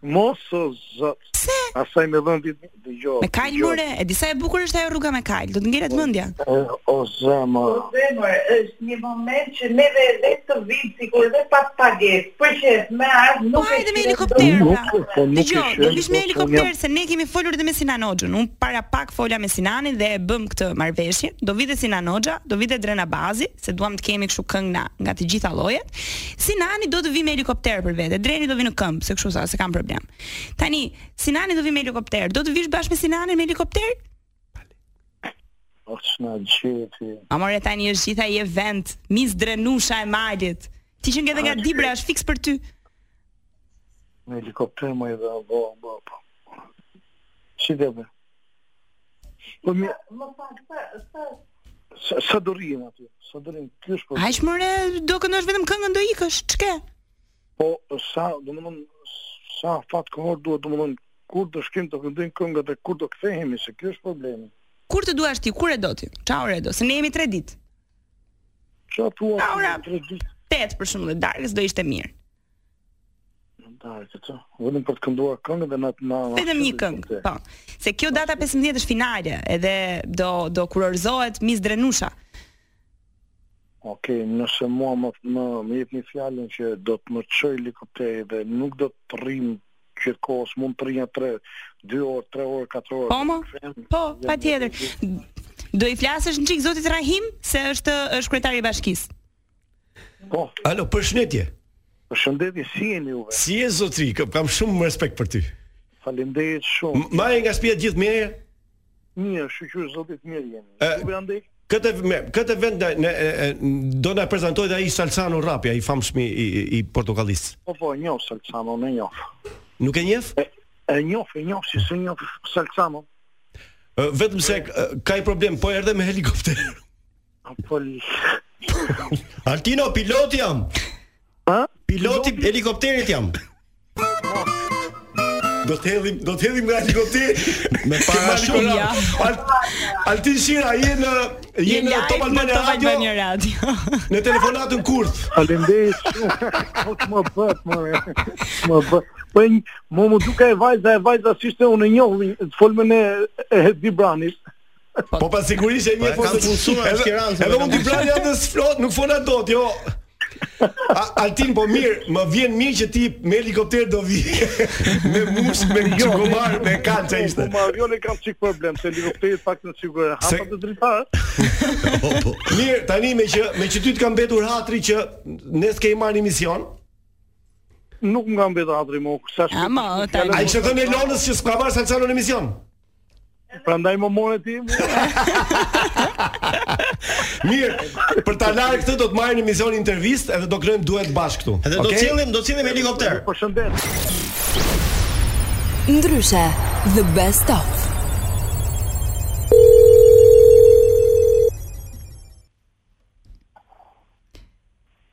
Speaker 9: Mos o zot.
Speaker 10: Pse?
Speaker 9: Asaj me dhënë ditë dëgjoj.
Speaker 10: Me kal
Speaker 9: dëgjoj.
Speaker 10: more, e disa e bukur është ajo rruga me kal, do të
Speaker 9: Po.
Speaker 10: ngelet mendja.
Speaker 9: E, O zemër.
Speaker 12: zemër është një moment që neve dhe të vitë si kur dhe pas pagesë, për qef me ardhë
Speaker 10: Po
Speaker 12: nuk
Speaker 10: hajde me
Speaker 12: shkret
Speaker 10: helikopter.
Speaker 12: dot.
Speaker 10: pra.
Speaker 9: po nuk e
Speaker 10: Dëgjoj, do
Speaker 9: shef,
Speaker 10: vish me
Speaker 9: po
Speaker 10: helikopter
Speaker 9: jam-
Speaker 10: se ne kemi folur edhe me Sinan Hoxhën. Un para pak fola me Sinanin dhe e bëm këtë marrëveshje. Do vite Sinan Hoxha, do vite Drena Bazi, se duam të kemi kështu këngë na nga të gjitha llojet. Sinani do të vi me helikopter për vete. Dreni do vi në këmbë, se kështu sa se kam problem. Tani Sinani do vi me helikopter. Do të vish bashkë me Sinanin me helikopter?
Speaker 9: O çna gjeti.
Speaker 10: Amore tani është gjitha i event, mis drenusha e malit. Ti që ngjedhe nga Dibra është fiks për ty.
Speaker 9: Me helikopter më i dha bo bo. po. Si dhe be? Po mi
Speaker 12: Më pak, sa- sa-
Speaker 9: sa, sa do rrihen aty? Sa do rrihen? Ky është po.
Speaker 10: Aq more do këndosh vetëm këngën do ikësh. Ç'ke?
Speaker 9: Po sa, domethënë sa fat kohor duhet domethënë kur do shkim të këndojmë këngët dhe kur do kthehemi se ky është problemi.
Speaker 10: Kur të duash ti, kur e do ti? Çfarë orë e do? Se ne jemi 3 ditë.
Speaker 9: Çfarë thua?
Speaker 10: Ka ora 3 ditë. 8 për shembull, darkës do ishte mirë.
Speaker 9: Darkë, ço. Vetëm për po të kënduar këngën dhe na na.
Speaker 10: Vetëm një këngë, po. Se kjo data 15 është finale, edhe do do kurorzohet Miss Drenusha.
Speaker 9: Okej, nëse mua më më më jep një fjalën që do të më çoj helikopteri dhe nuk do të rrim që kohës mund të rrinja 3 2 orë, 3 orë, 4 orë.
Speaker 10: Po, mo? po, patjetër. Do i flasësh në çik zotit Rahim se është është kryetari i bashkisë.
Speaker 9: Po.
Speaker 6: Alo, përshëndetje.
Speaker 9: Përshëndetje, si jeni juve?
Speaker 6: Si je zotri? Kam kam shumë respekt për ty.
Speaker 9: Faleminderit shumë.
Speaker 6: M- Marrë nga shtëpia gjithë mirë.
Speaker 9: Mirë, shqyr zotit mirë jeni.
Speaker 6: E-
Speaker 9: Juve andej?
Speaker 6: Këtë me, këtë vend na- ne, e, e, do na prezantohet ai Salsano Rapi, ai famshmi i, i, i portokallis.
Speaker 9: Po po, e njoh Salcano, e njoh.
Speaker 6: Nuk e njeh?
Speaker 9: E njoh, e njoh si se njoh Salcano.
Speaker 6: Ë, Vetëm se ë, ka i problem, po erdhe me helikopter.
Speaker 9: Po
Speaker 6: Altino pilot jam.
Speaker 9: Ha?
Speaker 6: Piloti i helikopterit jam. Do të hedhim, do të hedhim nga helikopteri me para
Speaker 10: shumë,
Speaker 6: shumë.
Speaker 10: ja.
Speaker 6: Alt, Altin Shira je në je në Top Albania Radio
Speaker 10: Radio.
Speaker 6: në telefonatën kurth.
Speaker 9: Faleminderit shumë. Po të më bët, më më bët. Po e një- më më duka e vajza e vajza si ishte unë e njoh të folmën e e Hedi Branit.
Speaker 6: Po pa sigurisht e një
Speaker 9: Po, kam pulsuar
Speaker 6: Edhe-
Speaker 9: Tiranë,
Speaker 6: Edhe
Speaker 9: po,
Speaker 6: unë ti prani atë flot, nuk fola dot, jo. A- Altin po mirë, më vjen mirë që ti me helikopter do vi me mush, me çukomar, me kalça ishte.
Speaker 9: Po avionin kam çik problem se helikopteri pak në sigurë. Hapa të dritarë.
Speaker 6: Po, Mirë, tani me që me që ty të ka mbetur hatri që ne s'ke i marrë në mision.
Speaker 9: Nuk më nga mbetë atri më, sa shkë...
Speaker 10: Ama, tani-
Speaker 6: A i që thënë Elonës që s'ka marrë Salcano në mision?
Speaker 9: Pra ndaj më more ti,
Speaker 6: Mirë, për ta larë këtë do të marrë në mision intervist edhe do kërëm duhet bashkë këtu.
Speaker 2: Edhe do
Speaker 6: Okej?
Speaker 2: cillim, do cillim helikopter.
Speaker 9: Përshëndet.
Speaker 13: Ndryshe, the best of.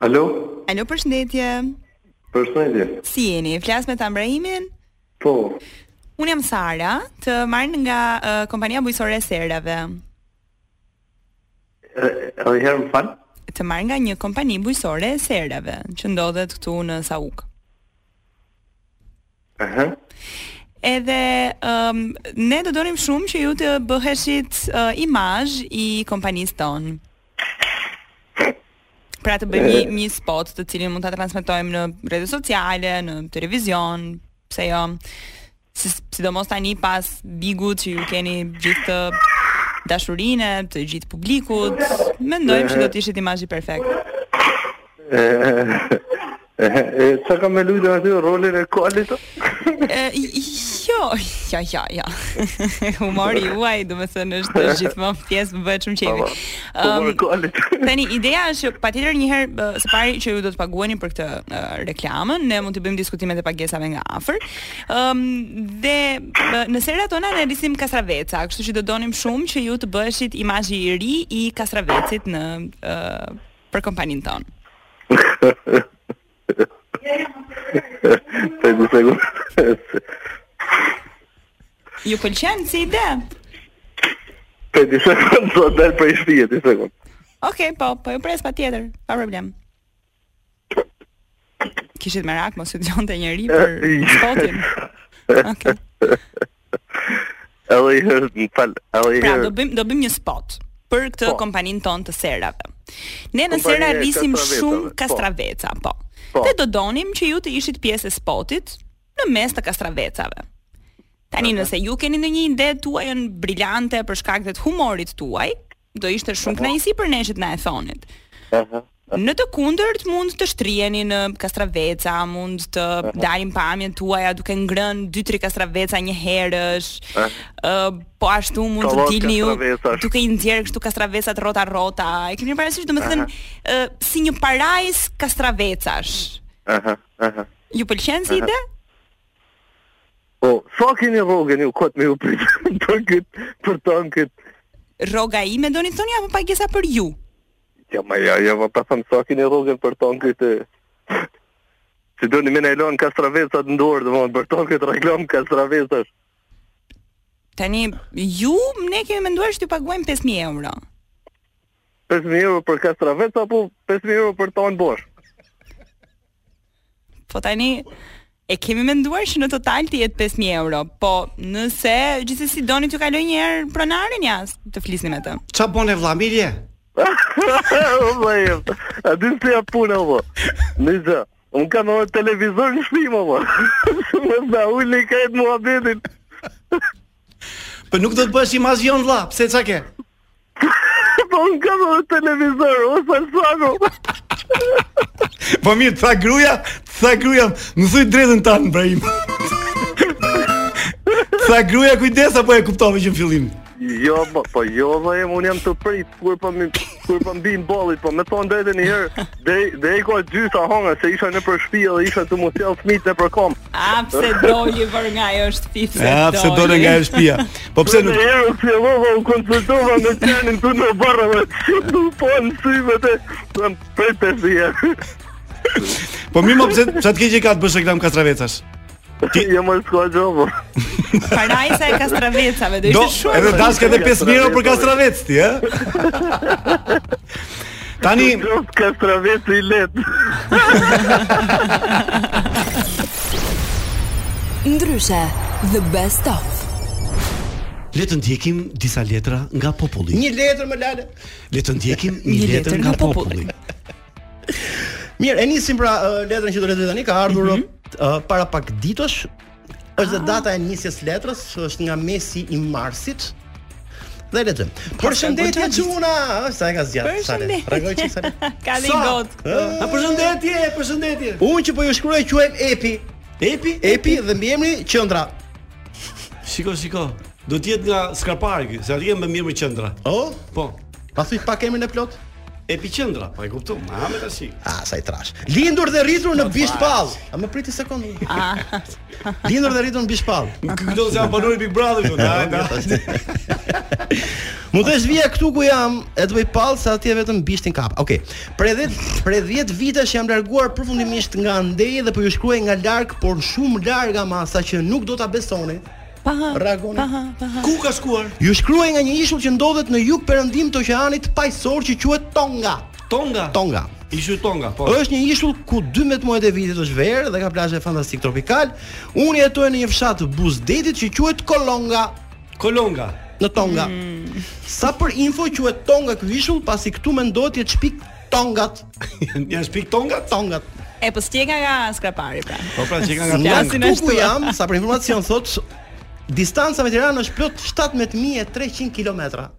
Speaker 14: Alo,
Speaker 10: Alo, përshëndetje.
Speaker 14: përshëndetje.
Speaker 10: Si jeni? Flas me Tambrahimin?
Speaker 14: Po,
Speaker 10: Unë jam Sara, të marrë nga uh, kompania bujësore e serave.
Speaker 14: edhe Po, herë më falë.
Speaker 10: Të marrë nga një kompani bujësore e serave, që ndodhet këtu në Sauk.
Speaker 14: Aha.
Speaker 10: Edhe um, ne do dorim shumë që ju të bëheshit uh, imazh i kompanisë tonë. Pra të bëjmë një, një spot të cilin mund ta transmetojmë në rrjetet sociale, në televizion, pse jo. Si, sidomos tani pas bigut që ju keni gjithë të dashurinë, të gjithë publikut, mendojmë që do të ishit imazhi perfekt.
Speaker 14: E, e, e, sa kam me lujtë aty rolin e Po, koalit?
Speaker 10: E, jo, ja, ja, ja. Humori juaj, do të thënë, është është gjithmonë pjesë më bëhet shumë qevi.
Speaker 14: Po, morë koalit.
Speaker 10: Um, tani ideja është që patjetër një herë bë, së pari që ju do të paguheni për këtë ë, reklamën, ne mund të bëjmë diskutimet e pagesave nga afër. Ëm dhe bë, në serat tona ne rrisim Kastraveca, kështu që do donim shumë që ju të bëheshit imazhi i ri i Kastravecit në ë, për kompaninë tonë.
Speaker 14: Të një sekundë.
Speaker 10: Ju pëlqen si ide?
Speaker 14: Të një sekundë, do të dalë për i shpije, të sekundë.
Speaker 10: Okej, po, po ju pres patjetër, pa problem. Kishit merak mos ju dëgjonte njëri për spotin. Okej.
Speaker 14: Edhe i herë më falë, edhe i
Speaker 10: Pra do
Speaker 14: herë.
Speaker 10: bëjmë do bëjmë një spot për këtë kompaninë tonë të serave. Ne në
Speaker 14: Po. Kompania
Speaker 10: sera
Speaker 14: e
Speaker 10: rrisim
Speaker 14: kastravecave,
Speaker 10: shumë
Speaker 14: po.
Speaker 10: kastraveca, po. Dhe do donim që ju të ishit pjesë e spotit në mes të kastravecave. Tani nëse ju keni ndonjë ide tuajën brillante për shkak të humorit tuaj, do ishte shumë kënaqësi për ne që të na e thonit.
Speaker 14: Aha.
Speaker 10: Në të kundërt mund të shtriheni në kastraveca, mund të dalim pamjen tuaja duke ngrënë 2-3 kastraveca një herësh.
Speaker 14: Eh.
Speaker 10: Ë po ashtu mund të
Speaker 14: Kolot
Speaker 10: dilni ju
Speaker 14: kastravecash.
Speaker 10: duke i nxjerr kështu kastravecat rrota rrota. E keni parasysh domethënë
Speaker 14: Aha.
Speaker 10: ë si një parajs kastravecash.
Speaker 14: Aha, aha.
Speaker 10: Ju pëlqen si
Speaker 14: Aha.
Speaker 10: ide?
Speaker 14: Po, sa keni rrogën ju kot me ju pritë për këtë, për tonë këtë.
Speaker 10: Rroga ime doni thoni apo pagesa për ju?
Speaker 14: Ja, ma ja, ja, ma pa thëmë sa keni rrogën për tonë këtë. Që do një me në elonë kastravecat në dorë, dhe mon, për tonë këtë reklam kastravecash.
Speaker 10: Tani ju ne kemi menduar që t'ju paguajmë 5000 euro.
Speaker 15: 5.000 euro për kastravet apo 5.000 euro për ton bosh?
Speaker 10: Po tani e kemi menduar që në total të jetë 5000 euro, po nëse gjithsesi doni t'ju kaloj një herë pronarin ja, të flisni me të.
Speaker 8: Qa bon e vlla Mirje?
Speaker 15: o më jem, a di se ja puna o më. Në gjë, unë kam orë televizor në shpima o më. Më zda ulli ka jetë muhabetin.
Speaker 8: Po nuk do të bësh invazion vlla, pse çka ke?
Speaker 15: Po unë kam orë televizor, o salsano.
Speaker 8: Po mirë, tha gruaja, tha gruaja, më thuj drejtën tanë Ibrahim. tha gruaja kujdes apo e kuptove që në fillim?
Speaker 15: Jo, po, po jo, dhe jem, unë jam të prit, kur po mi, kur po mbi në ballit, po me thonë drejtën një herë, deri deri ka gjysa hanga se isha në për shtëpi dhe isha të mos jell fëmijët në për kom.
Speaker 10: A Ah, pse doli për nga ajo shtëpi pse
Speaker 8: Ja, Ah, pse dole nga e shtëpia. Po pse nuk
Speaker 15: Në herë u fillova u konsultova me qenin këtu në barra dhe që du po në syve të të më prej të herë.
Speaker 8: Po mirë, mo pse çat keq që ka të bësh reklam kastravecash?
Speaker 15: Ti jam më s'ka gjë po.
Speaker 10: Parajsa e kastravecave, do
Speaker 8: Do,
Speaker 10: ishte shumë.
Speaker 8: edhe dash edhe 5 euro për kastravec ti, ë? Tani
Speaker 15: kastravec i let.
Speaker 7: Ndryshe, the best of.
Speaker 8: Le të ndjekim disa letra nga populli.
Speaker 6: Një letër më lale.
Speaker 8: Le të ndjekim një, letër nga populli.
Speaker 6: Mirë, e nisim pra ë, letrën që do lexoj tani, ka ardhur ë, para pak ditësh. Është dhe data e nisjes së letrës, është nga mesi i marsit. Dhe e lexojmë. Përshëndetje Xuna, ë, sa e ka zgjat.
Speaker 10: Përshëndetje.
Speaker 6: Rregoj çik sa. le.
Speaker 10: Ka
Speaker 6: eh,
Speaker 10: dhe
Speaker 6: Sa?
Speaker 10: got
Speaker 6: Ë,
Speaker 10: këtu.
Speaker 8: përshëndetje, përshëndetje.
Speaker 6: Unë që po ju shkruaj quhem Epi.
Speaker 8: Epi,
Speaker 6: Epi dhe mbiemri Qendra.
Speaker 8: Shiko, shiko. Do të jetë nga Skrapari, ky, se atje më mirë më qendra.
Speaker 6: O?
Speaker 8: Po.
Speaker 6: Pasi pak emrin e plot.
Speaker 8: Epiqendra, po e kuptoj. Ma me tash.
Speaker 6: Ah, sa i trash. Lindur dhe rritur në Bishpall. A më priti sekondë. Lindur dhe rritur në Bishpall.
Speaker 8: Këto se janë banori Big Brother jo, këtu. Hajde. hajde.
Speaker 6: Mund të vija këtu ku jam, e të bëj pall se atje vetëm bishtin kap. Okej. Prej 10 prej 10 vitesh jam larguar përfundimisht nga ndeji dhe po ju shkruaj nga larg, por shumë larg ama sa që nuk do ta besoni.
Speaker 10: Paha.
Speaker 6: Reagoni.
Speaker 10: Paha, paha.
Speaker 8: Ku ka shkuar?
Speaker 6: Ju shkruaj nga një ishull që ndodhet në jug perëndim të oqeanit paqësor që quhet Tonga.
Speaker 8: Tonga.
Speaker 6: Tonga.
Speaker 8: Ishu Tonga, po.
Speaker 6: Është një ishull ku 12 muajt e vitit është verë dhe ka plazhe fantastik tropikal. Unë jetoj në një fshat të buzdetit që quhet Kolonga.
Speaker 8: Kolonga
Speaker 6: në Tonga. Sa për info quhet Tonga ky ishull, pasi këtu mendohet jetë shpik Tongat.
Speaker 8: Janë shpik Tongat?
Speaker 6: Tongat.
Speaker 10: E po s'tjeka nga skrapari pra.
Speaker 8: Po pra që ka nga
Speaker 6: Nga
Speaker 8: Tonga.
Speaker 6: këtu ku jam, sa për informacion thot, distanca me Tiranë është plot 17300 kilometra.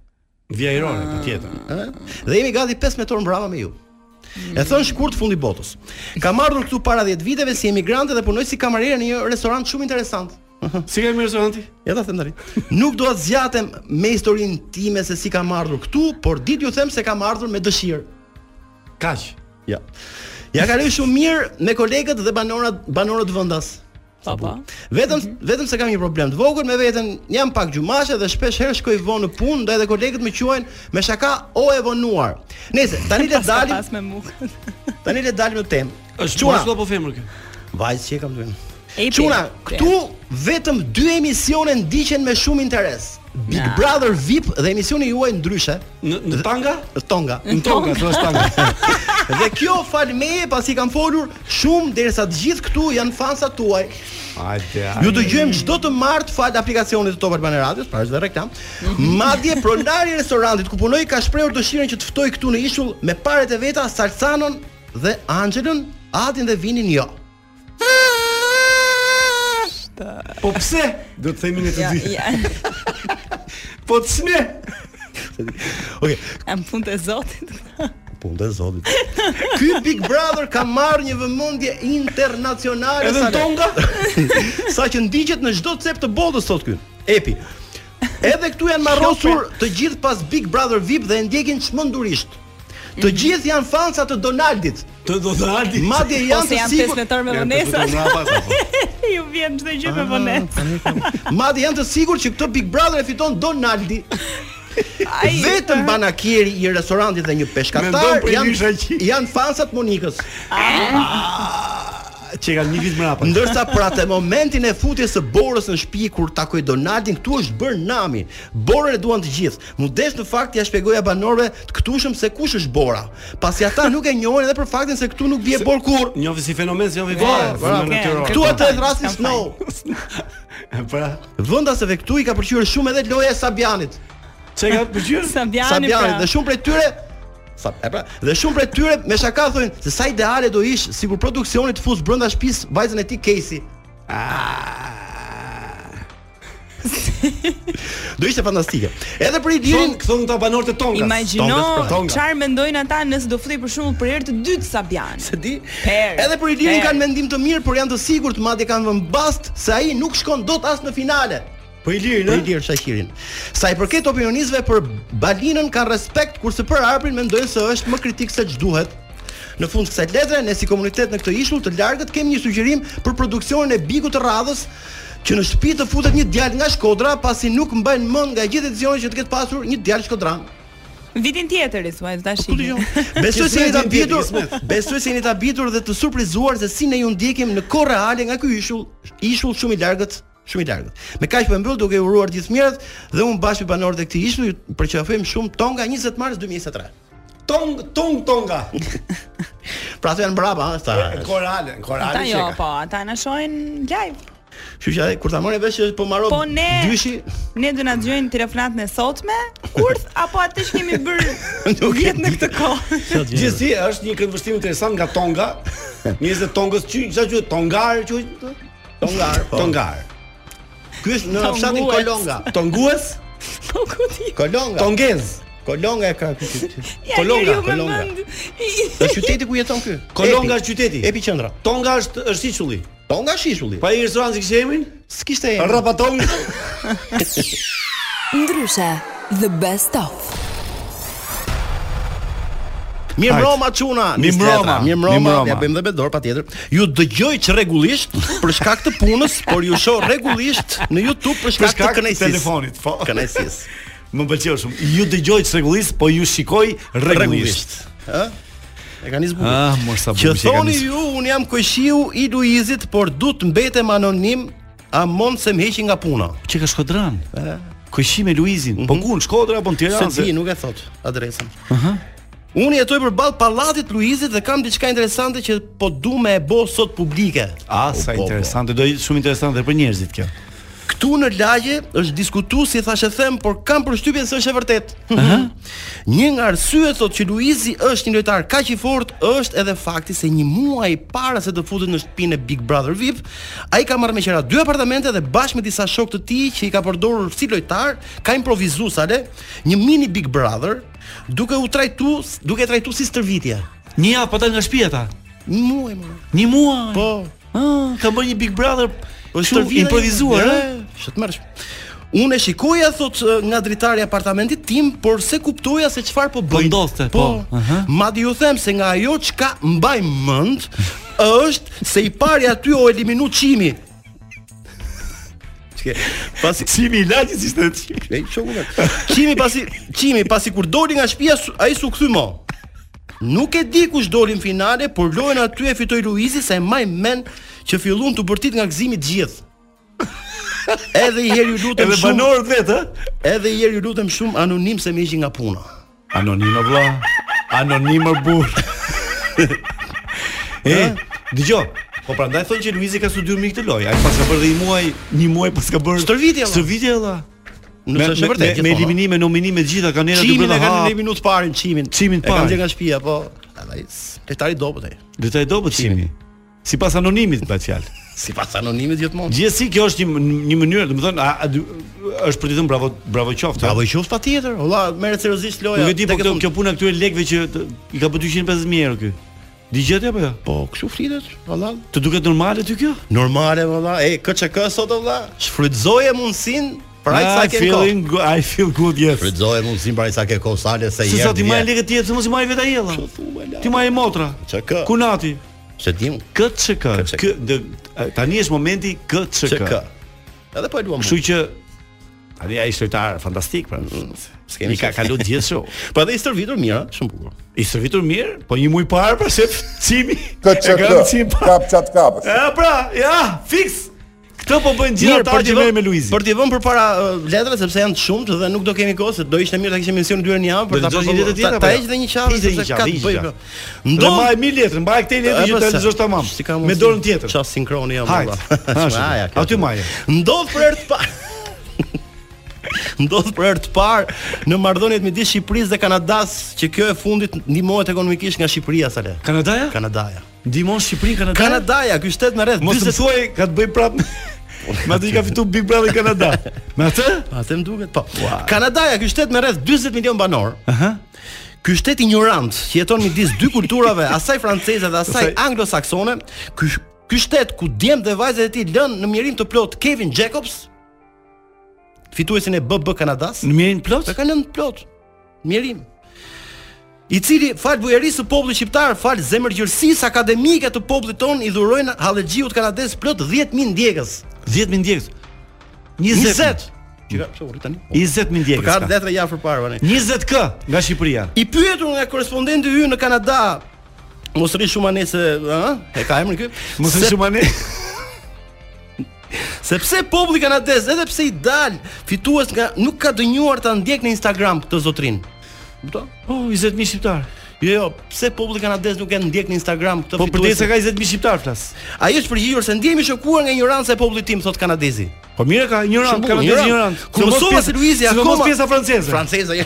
Speaker 8: Via po, Irone, patjetër.
Speaker 6: Ë? Dhe jemi gati 15 orë mbrapa me ju. E thon shkurt fundi botës. Kam ardhur këtu para 10 viteve si emigrante dhe punoj si kamariere në një restorant shumë interesant.
Speaker 8: Si ka mirë restoranti?
Speaker 6: Ja ta them tani. Nuk dua të zgjatem me historinë time se si kam ardhur këtu, por ditë ju them se kam ardhur me dëshirë.
Speaker 8: Kaq.
Speaker 6: Ja. Ja kaloj shumë mirë me kolegët dhe banorat banorët vendas.
Speaker 10: Po po.
Speaker 6: Vetëm
Speaker 8: Mhm.
Speaker 6: vetëm se kam një problem të vogël me veten, jam pak gjumashe dhe shpesh herë shkoj vonë në punë, ndaj edhe kolegët më quajnë me shaka o e vonuar. Nëse tani le dalim,
Speaker 10: pas me mukën.
Speaker 6: tani le dalim në temë.
Speaker 8: Është
Speaker 6: Çuna.
Speaker 8: çuna apo femër kjo?
Speaker 6: Vajzë që e kam vënë.
Speaker 10: Epi.
Speaker 6: Çuna, këtu vetëm dy emisione ndiqen me shumë interes. Big
Speaker 10: Na.
Speaker 6: Brother VIP dhe emisioni juaj ndryshe.
Speaker 8: Në në Tanga?
Speaker 6: Në Tonga.
Speaker 8: Në Tonga, thua Tanga.
Speaker 6: Dhe kjo fal meje pasi kam folur shumë derisa të gjithë këtu janë fansa tuaj.
Speaker 8: Hajde.
Speaker 6: Ju dëgjojmë çdo të martë fal aplikacionit të Top Albana Radios, pra është dhe reklam.
Speaker 8: Mhm.
Speaker 6: Madje pronari i restorantit ku punoj ka shprehur dëshirën që të ftoj këtu në ishull me paret e veta Salsanon dhe Angelën, Adin dhe Vinin jo.
Speaker 8: Po pse? Do të themi ne të
Speaker 10: Ja,
Speaker 8: dy.
Speaker 10: ja.
Speaker 8: Po ç'ne?
Speaker 6: Okej,
Speaker 10: Am punë të Zotit.
Speaker 6: punë të zotit. Ky Big Brother ka marrë një vëmendje internacionale
Speaker 8: Edhe në
Speaker 6: Sale.
Speaker 8: Tonga?
Speaker 6: Sa që ndiqet në çdo cep të botës sot ky. Epi. Edhe këtu janë marrosur të gjithë pas Big Brother VIP dhe e ndjekin çmendurisht. Të gjithë janë fansa të Donaldit.
Speaker 8: Të do daldi.
Speaker 6: Madje
Speaker 10: Ose
Speaker 6: janë të
Speaker 10: janë
Speaker 6: sigurt.
Speaker 10: pesmetor me vonesat. Ju vjen çdo gjë me vonesë.
Speaker 6: Madje janë të sigurt që këtë Big Brother e fiton Donaldi.
Speaker 10: Ai.
Speaker 6: Vetëm banakieri i restorantit dhe një
Speaker 8: Mendon
Speaker 6: peshkatar
Speaker 8: për Ilisha
Speaker 6: janë
Speaker 8: Qi.
Speaker 6: janë fansat Monikës.
Speaker 8: që kanë një vit mbrapa.
Speaker 6: Ndërsa pra te momentin e futjes së Borës në shtëpi kur takoi Donaldin, këtu është bër nami. Borën e duan të gjithë. Mudesh në fakt ja shpjegoja banorëve të këtushëm se kush është Bora. Pasi ata nuk e njohin edhe për faktin se këtu nuk bie Bor kur.
Speaker 8: Njohin si fenomen, si njohin
Speaker 6: fenomen. Këtu ata e thrasin Snow.
Speaker 8: Pra,
Speaker 6: vendasave këtu i ka pëlqyer shumë edhe loja e Sabianit.
Speaker 8: Çe ka pëlqyer?
Speaker 10: Sabiani.
Speaker 6: Sabianit
Speaker 10: pra.
Speaker 6: dhe shumë prej tyre Sa, e pra, dhe shumë prej tyre me shaka thonë se sa ideale do ish sikur produksioni të fus brenda shtëpisë vajzën e tij Casey. Ah. do ishte fantastike. Edhe për Ilirin,
Speaker 8: thonë ta banorët e Tongas.
Speaker 10: Imagjino çfarë mendojnë ata nëse do flej për shembull për herë të dytë Sabian. Se
Speaker 6: di.
Speaker 10: Per.
Speaker 6: Edhe për Ilirin
Speaker 10: per.
Speaker 6: kanë mendim të mirë, por janë të sigurt madje kanë vënë bast se ai nuk shkon dot as në finale.
Speaker 8: Për Ilirin,
Speaker 6: për Ilir Shaqirin. Sa i përket opinionistëve për Balinën kanë respekt, kurse për Arbrin mendojnë se është më kritik se ç'duhet. Në fund kësaj letre, ne si komunitet në këtë ishull të largët kemi një sugjerim për produksionin e Bigut të Radhës, që në shtëpi të futet një djalë nga Shkodra pasi nuk mbajnë mend nga gjithë decisionet që të ketë pasur një djalë shkodran.
Speaker 10: Vitin tjetër i thuaj do ta shihni.
Speaker 6: Besoj se jeni të habitur, besoj se jeni të habitur dhe të surprizuar se si ne ju ndjekim në kohë reale nga ky ishull, ishull shumë i largët, shumë i largët. Me kaq po e mbyll duke uruar gjithë mirët dhe unë bashkë me banorët e këtij ishulli ju përqafojmë shumë Tonga 20 mars 2023.
Speaker 8: Tong tong tonga.
Speaker 6: pra ato janë mbrapa, ha, sta.
Speaker 8: Korale,
Speaker 10: Ata
Speaker 8: korale
Speaker 10: jo,
Speaker 8: çeka.
Speaker 10: po, ata na shohin live.
Speaker 6: Kështu që ai, kur ta morë vesh që po maro
Speaker 10: Po ne
Speaker 6: dyshi
Speaker 10: ne do na dëgjojnë telefonatën e sotme, kurth apo atë që kemi bër vjet në këtë kohë.
Speaker 8: Gjithsesi është një këndvështrim interesant nga Tonga. Njerëzit e Tongës qysh, sa quhet Tongar, quhet
Speaker 6: Tongar, po.
Speaker 8: Tongar.
Speaker 6: Ky është në fshatin
Speaker 10: Tongues.
Speaker 6: Kolonga.
Speaker 8: Pra. Tongues?
Speaker 10: Po ku ti?
Speaker 6: Kolonga.
Speaker 8: Tongez.
Speaker 6: Kolonga e ka ky.
Speaker 10: Ja,
Speaker 8: Kolonga,
Speaker 10: njeriu me
Speaker 8: Kolonga.
Speaker 10: mend.
Speaker 6: Në qyteti ku jeton ky?
Speaker 8: Kolonga
Speaker 6: Epi.
Speaker 8: është qyteti. Po-
Speaker 6: Epi qendra.
Speaker 8: Tonga është është ishulli.
Speaker 6: Tonga është ishulli.
Speaker 8: Pa i restoranti kishte emrin?
Speaker 6: S'kishte emrin.
Speaker 8: Rapatong.
Speaker 7: Ndryshe, the best of.
Speaker 6: Mirë
Speaker 7: Hajt.
Speaker 6: mbroma çuna.
Speaker 8: Mirë
Speaker 6: nis letra.
Speaker 8: mbroma,
Speaker 6: Mirë
Speaker 8: mirë
Speaker 6: mbroma,
Speaker 8: mbroma.
Speaker 6: ja bëjmë dhe bedor patjetër. Ju dëgjoj çrregullisht për shkak të punës, por ju shoh rregullisht në YouTube për
Speaker 8: Për
Speaker 6: shkak të
Speaker 8: shkak të
Speaker 6: kënaqësisë.
Speaker 8: telefonit, po.
Speaker 6: Kënaqësisë.
Speaker 8: Më pëlqeu shumë. Ju dëgjoj rregullisht, po ju shikoj rregullisht.
Speaker 6: Ë? E kanë zbukur.
Speaker 8: Ah, mor sa
Speaker 6: Që
Speaker 8: bukur që e kanë
Speaker 6: thoni
Speaker 8: nisë.
Speaker 6: ju, un jam koqiu i Luizit, por du të mbetem anonim, a mund se më heqi nga puna.
Speaker 8: Çe ka Shkodran? Koqi me Luizin. Po ku në Shkodër apo në Tiranë?
Speaker 6: Se ti nuk e thot adresën. Unë jetoj përballë pallatit Luizit dhe kam diçka interesante që po du me e bo sot publike.
Speaker 8: Ah, sa
Speaker 6: po, po.
Speaker 8: interesante, do i- shumë interesante dhe për njerëzit kjo.
Speaker 6: Këtu në lagje është diskutu si thashë them, por kam përshtypjen se është e vërtet. një nga arsyet thotë që Luizi është një lojtar kaq i fortë është edhe fakti se një muaj para se të futet në shtëpinë e Big Brother VIP, ai ka marrë me qira dy apartamente dhe bashkë me disa shokë të tij që i ka përdorur si lojtar, ka improvisuar sale, një mini Big Brother, duke u trajtu, duke e trajtu si stërvitje.
Speaker 8: Një javë po dal nga shtëpia ata.
Speaker 6: Një muaj më.
Speaker 8: Një muaj.
Speaker 6: Po.
Speaker 8: Ah, ka bërë një Big Brother
Speaker 6: Është
Speaker 8: kështu improvisuar, ë?
Speaker 6: Shë të mërsh. Unë e shikoja thot nga dritari i apartamentit tim, por se kuptoja se çfarë po bëj.
Speaker 8: Po ndodhte, po, aha.
Speaker 6: Madje ju them se nga ajo çka mbaj mend është se i pari aty o eliminu Çimi. Çike, pasi
Speaker 8: Çimi i lagjes ishte aty.
Speaker 6: Ne çokume. Çimi pasi Çimi pasi kur doli nga shtëpia su- ai su kthy mo. Nuk e di kush doli në finale, por lojën aty e fitoi Luizi se e maj mend që fillun të bërtit nga gëzimi të gjithë. Edhe i herë ju lutem
Speaker 8: Edhe
Speaker 6: shumë.
Speaker 8: banorët vetë, ë?
Speaker 6: Edhe i herë ju lutem shumë anonim se më ishi nga puna.
Speaker 8: Anonimo vlla. Anonimo burr. e, dëgjoj. Po prandaj thonë që Luizi ka studiuar mirë këtë lojë. Ai pas ka bërë dhe një muaj, një muaj pas ka bërë
Speaker 6: Stërvitje, valla.
Speaker 8: Stërvitje valla.
Speaker 6: Nuk
Speaker 8: Me-
Speaker 6: është e
Speaker 8: me-
Speaker 6: vërtetë,
Speaker 8: Me
Speaker 6: gjithmonë.
Speaker 8: eliminime, nominime të gjitha kanë era të
Speaker 6: Çimin e
Speaker 8: brenda
Speaker 6: kanë
Speaker 8: ha.
Speaker 6: në minutë parën Çimin.
Speaker 8: Çimin
Speaker 6: E kanë
Speaker 8: parë.
Speaker 6: dhënë nga shtëpia, po. Ai s- lojtari dobët ai.
Speaker 8: Detaj do bëtimi. Sipas anonimit bëhet fjalë.
Speaker 6: Sipas anonimit gjithmonë.
Speaker 8: Gjithsesi kjo është një një mënyrë, domethënë a- a dy- është për të thënë bravo bravo qoftë.
Speaker 6: Bravo i qoftë patjetër. Valla merret seriozisht loja.
Speaker 8: Nuk e di po
Speaker 6: tek e
Speaker 8: kjo
Speaker 6: fund.
Speaker 8: kjo puna këtyre lekëve që të- i ka po bërë 250000 euro ky. Digjeti apo jo?
Speaker 6: Po, kështu flitet, valla.
Speaker 8: Të duket normale ty kjo?
Speaker 6: Normale valla. E KÇK sot valla, shfrytëzoje mundsinë për ai sa
Speaker 8: I
Speaker 6: ke kohë.
Speaker 8: Ah, feeling go- I feel good yes.
Speaker 6: Shfrytëzoje mundsinë për ai sa ke kohë sale se
Speaker 8: Se
Speaker 6: jep.
Speaker 8: sa po ti marr lekë tjetër, se mos i marr vetë ai ella. Ti marr motra.
Speaker 6: ÇK.
Speaker 8: Kunati.
Speaker 6: Se dim
Speaker 8: Kët çk. Kë dë- tani është momenti kët çk.
Speaker 6: ÇK. Edhe po e luam.
Speaker 8: Kështu që tani ai është lojtar fantastik pra.
Speaker 6: Mm, s'kemi
Speaker 8: I ka
Speaker 6: qef.
Speaker 8: kalu gjithë show.
Speaker 6: Po edhe i stërvitur mirë, ha? shumë bukur.
Speaker 2: I servitur mirë, po një muj parë pra se cimi.
Speaker 16: Këtë që
Speaker 2: e ka
Speaker 16: këtë,
Speaker 2: cim pa.
Speaker 16: Kap çat kap.
Speaker 2: E pra, ja, fiks. Këtë po bëjnë gjithë
Speaker 6: Mirë,
Speaker 2: ata
Speaker 6: për
Speaker 2: që
Speaker 6: t'i
Speaker 2: merren
Speaker 6: vënë
Speaker 2: me Luizin.
Speaker 6: Për t'i vënë përpara uh, letrave sepse janë të shumtë dhe nuk do kemi kohë, se do ishte mirë ta kishim emisionin dy herë në javë
Speaker 2: Do
Speaker 6: për ta
Speaker 2: lexosh një letër tjetër
Speaker 6: Ta-
Speaker 2: apo
Speaker 6: Ta
Speaker 2: jo?
Speaker 6: heq dhe një
Speaker 8: pra.
Speaker 6: qafë
Speaker 2: Ishte një
Speaker 6: sepse
Speaker 2: qafë,
Speaker 6: ka
Speaker 2: ishte
Speaker 6: të
Speaker 2: një
Speaker 6: bëj.
Speaker 2: qafë.
Speaker 6: pra.
Speaker 2: Dhe mbaj mi letrën, mbaj këtë letër që ta lexosh tamam. Me dorën tjetër.
Speaker 6: Çfarë sinkroni jam
Speaker 2: Hajt. Ha,
Speaker 6: valla.
Speaker 2: shiko. Aty maje.
Speaker 6: Ndodh për herë të parë. Ndodh për herë të parë në marrëdhëniet midis Shqipërisë dhe Kanadas që kjo e fundit ndihmohet ekonomikisht nga Shqipëria sa le.
Speaker 2: Kanadaja?
Speaker 6: Kanadaja.
Speaker 2: Ndihmon Shqipërinë Kanadaja?
Speaker 6: Kanadaja, ky shtet me rreth
Speaker 2: Mos të
Speaker 6: 40
Speaker 2: thuaj ka të bëj prapë. Ma të i ka fitu Big Brother Kanada. Me atë?
Speaker 6: Atë më duket, po. Kanadaja, ky shtet me rreth 40 milion banor. Aha. Ky shtet ignorant që jeton midis dy kulturave, asaj franceze dhe asaj
Speaker 2: Asaj-
Speaker 6: anglosaksone, ky sh- ky shtet ku djemt dhe vajzat e tij lën në mjerim të plot Kevin Jacobs, fituesin e BB Kanadas. Në
Speaker 2: mjerim plot?
Speaker 6: E kanë lënë plot. Në Mjerim. I cili fal bujarisë së popullit shqiptar, fal zemërgjërsisë akademike të popullit ton i dhurojnë hallëxhiut kanadez plot 10000 ndjekës.
Speaker 2: 10000 ndjekës.
Speaker 6: 20.
Speaker 2: 20.
Speaker 6: Që ka pse u rrit tani?
Speaker 2: 20000 ndjekës.
Speaker 6: Ka
Speaker 2: ka.
Speaker 6: letra ja përpara tani.
Speaker 2: 20k nga Shqipëria.
Speaker 6: I pyetur nga korespondenti ynë në Kanada, mos rri shumë anë se, ëh, e ka emrin ky?
Speaker 2: Mos rri shumë anë.
Speaker 6: Sepse populli kanadez, edhe pse i dal fitues nga nuk ka dënjuar ta ndjek në Instagram këtë zotrin. Kupton?
Speaker 2: Po,
Speaker 8: Oh,
Speaker 2: 20000 shqiptar.
Speaker 6: Jo, jo, pse populli kanadez nuk e ndjek në Instagram këtë
Speaker 2: Po për
Speaker 6: fituesin?
Speaker 2: se ka 20000 shqiptar flas.
Speaker 6: Ai është përgjigjur se ndjehemi shokuar nga ignoranca e popullit tim, thot kanadezi.
Speaker 2: Po mirë ka ignorant,
Speaker 6: Shumë bukur,
Speaker 2: kanadez
Speaker 6: ignorant.
Speaker 2: ignorant.
Speaker 6: Kur mësova se Luizi
Speaker 2: akoma. Mos
Speaker 6: akoma
Speaker 2: pjesa franceze.
Speaker 6: Franceza ja.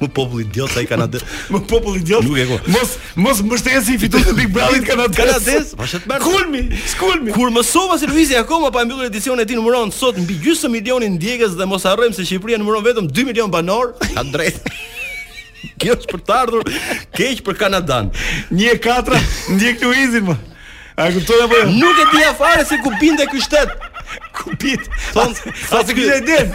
Speaker 6: Më popull idiot sa i kanadez.
Speaker 2: Më popull idiot.
Speaker 6: Nuk e ku.
Speaker 2: Mos mos mbështesi fitut të Big Brotherit kanadez.
Speaker 6: Kanadez, pa shët merr.
Speaker 2: Kulmi, skulmi.
Speaker 6: Kur mësova se Luizi akoma pa mbyllur edicionin e tij numëron sot mbi gjysmë milioni ndjekës dhe mos harrojmë se Shqipëria numëron vetëm 2 milion banor, ka drejt. Kjo është për të ardhur keq për Kanadan.
Speaker 2: 1/4 ndjek Luizin më. A kupton apo jo?
Speaker 6: Nuk e dija fare se ku binte ky shtet.
Speaker 2: Ku bit?
Speaker 6: Thon,
Speaker 2: Sa se kishte iden.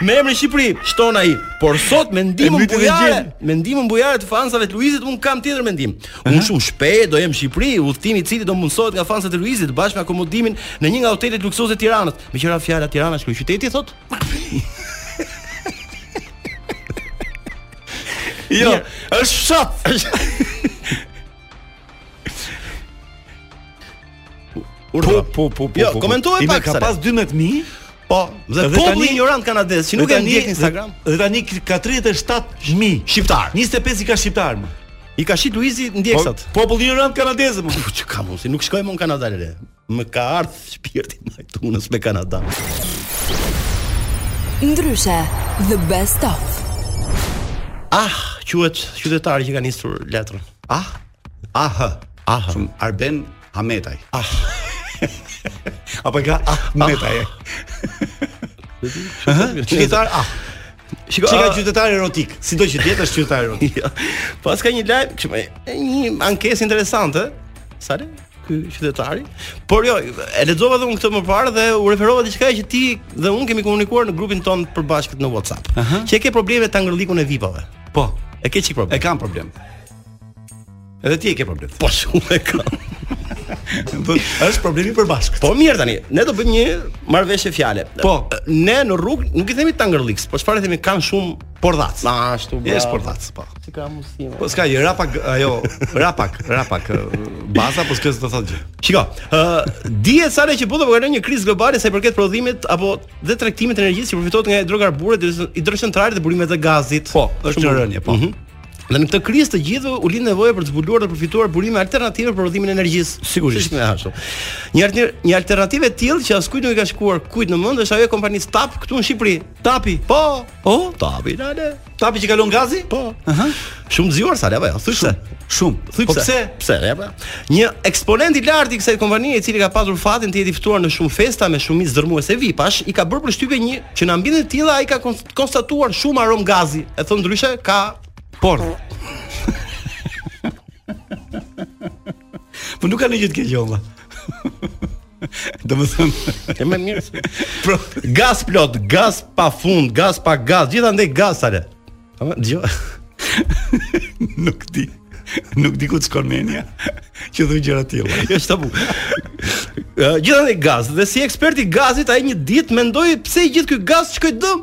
Speaker 6: Me emrin Shqipëri, shton ai. Por sot me
Speaker 2: E
Speaker 6: ndihmën
Speaker 2: mbyti dhe
Speaker 6: bujare,
Speaker 2: gjen.
Speaker 6: me ndihmën bujare të fansave të Luizit un kam tjetër mendim. Un shumë shpejt do jem në Shqipëri, udhtimi i cili do mundsohet nga fansat e Luizit bashkë me akomodimin në një nga hotelet luksoze të Tiranës. Me qira fjala Tirana është qyteti thot.
Speaker 2: Jo, është fshat.
Speaker 6: Urdhra.
Speaker 2: Po, po, po, po.
Speaker 6: Jo,
Speaker 2: po, po.
Speaker 6: komentoj
Speaker 2: Ime
Speaker 6: pak,
Speaker 2: Ka
Speaker 6: Sara.
Speaker 2: pas 12000.
Speaker 6: Po, Dhe populli ignorant kanadez që nuk e ndjek në Instagram.
Speaker 2: Dhe tani ka 37000
Speaker 6: shqiptar.
Speaker 2: 25 i ka shqiptar më.
Speaker 6: I ka shit Luizi ndjeksat.
Speaker 2: Po, populli ignorant kanadez më.
Speaker 6: Po çka mos, nuk shkojmë në Kanada le. Më ka ardh shpirti ndaj Tunës me Kanada.
Speaker 7: Ndryshe, the best of.
Speaker 6: Ah, quhet qytetari që ka nisur letrën.
Speaker 8: Ah, ah,
Speaker 6: ah,
Speaker 8: Arben Hametaj.
Speaker 6: Ah.
Speaker 2: Apo ka Ahmetaj. Qytetar ah.
Speaker 6: Shiko,
Speaker 8: Çka
Speaker 6: ah.
Speaker 8: qytetar erotik, sido që tjetër është qytetar erotik.
Speaker 6: Ja. Jo. Pas ka një lajm, kështu më, e një ankesë interesante, sa le ky qytetari. Por jo, e lexova dhe unë këtë më parë dhe u referova diçka që ti dhe unë kemi komunikuar në grupin ton përbashkët në WhatsApp. Që e ke probleme ta angërllikun e VIP-ave.
Speaker 2: Po,
Speaker 6: e ke çik problem.
Speaker 8: E kam problem. Edhe ti e ke problem.
Speaker 6: Po shumë e kam.
Speaker 8: Po, është problemi përbashkët.
Speaker 6: Po mirë tani, ne do bëjmë një marrëveshje fjale.
Speaker 2: Po.
Speaker 6: ne në rrugë nuk i themi tangërlliks, po çfarë i themi kanë shumë pordhac. Na ashtu.
Speaker 8: Jesh
Speaker 6: bravo.
Speaker 8: pordhac, po.
Speaker 6: Ti ka mundësi.
Speaker 8: Po s'ka gjë, rapak ajo, rapak, rapak ë, baza, po s'ka se të thotë gjë.
Speaker 6: Shiko, ë dihet sa le që bota po kalon një krizë globale sa i përket prodhimit apo dhe tregtimit të energjisë që përfitohet nga hidrokarburet, hidrocentralet dhe burimet e gazit. Po,
Speaker 8: Është në rënje, po.
Speaker 6: Dhe në këtë krizë të gjithëve u lind nevoja për të zbuluar dhe përfituar burime alternative për prodhimin e energjisë.
Speaker 8: Sigurisht.
Speaker 6: Është më ashtu. Një alter, një alternativë e tillë që askujt nuk i ka shkuar kujt në mend është ajo e kompanisë TAP këtu në Shqipëri. TAPi. Po. Po, TAPi. Lale.
Speaker 8: Tapi që kalon gazi?
Speaker 6: Po. Aha. Shumë zgjuar sa apo jo? Thuaj shumë.
Speaker 8: Shumë.
Speaker 6: Thuj
Speaker 8: Po pse?
Speaker 6: Pse? Ja, pra. Një eksponent i lartë i kësaj kompanie i cili ka pasur fatin të jetë i ftuar në shumë festa me shumicë dërmuese VIP-ash, i ka bërë përshtypje një që në ambientet të tilla ai ka kons- konstatuar shumë arom gazi. E thon ndryshe ka
Speaker 2: Por.
Speaker 8: Po nuk ka ndonjë të keq olla. Domethënë,
Speaker 6: e më mirë. se- Pro, gaz plot, gaz pa fund, gaz pa gaz, gjithandaj gaz sale. Ama dëgjoj.
Speaker 8: nuk di. Nuk di ku të shkon mendja që thuj gjëra të tilla.
Speaker 6: Jo shtabu. Ë, Gjithandaj gaz dhe si ekspert i gazit ai një ditë mendoi pse i gjithë ky gaz shkoi dëm.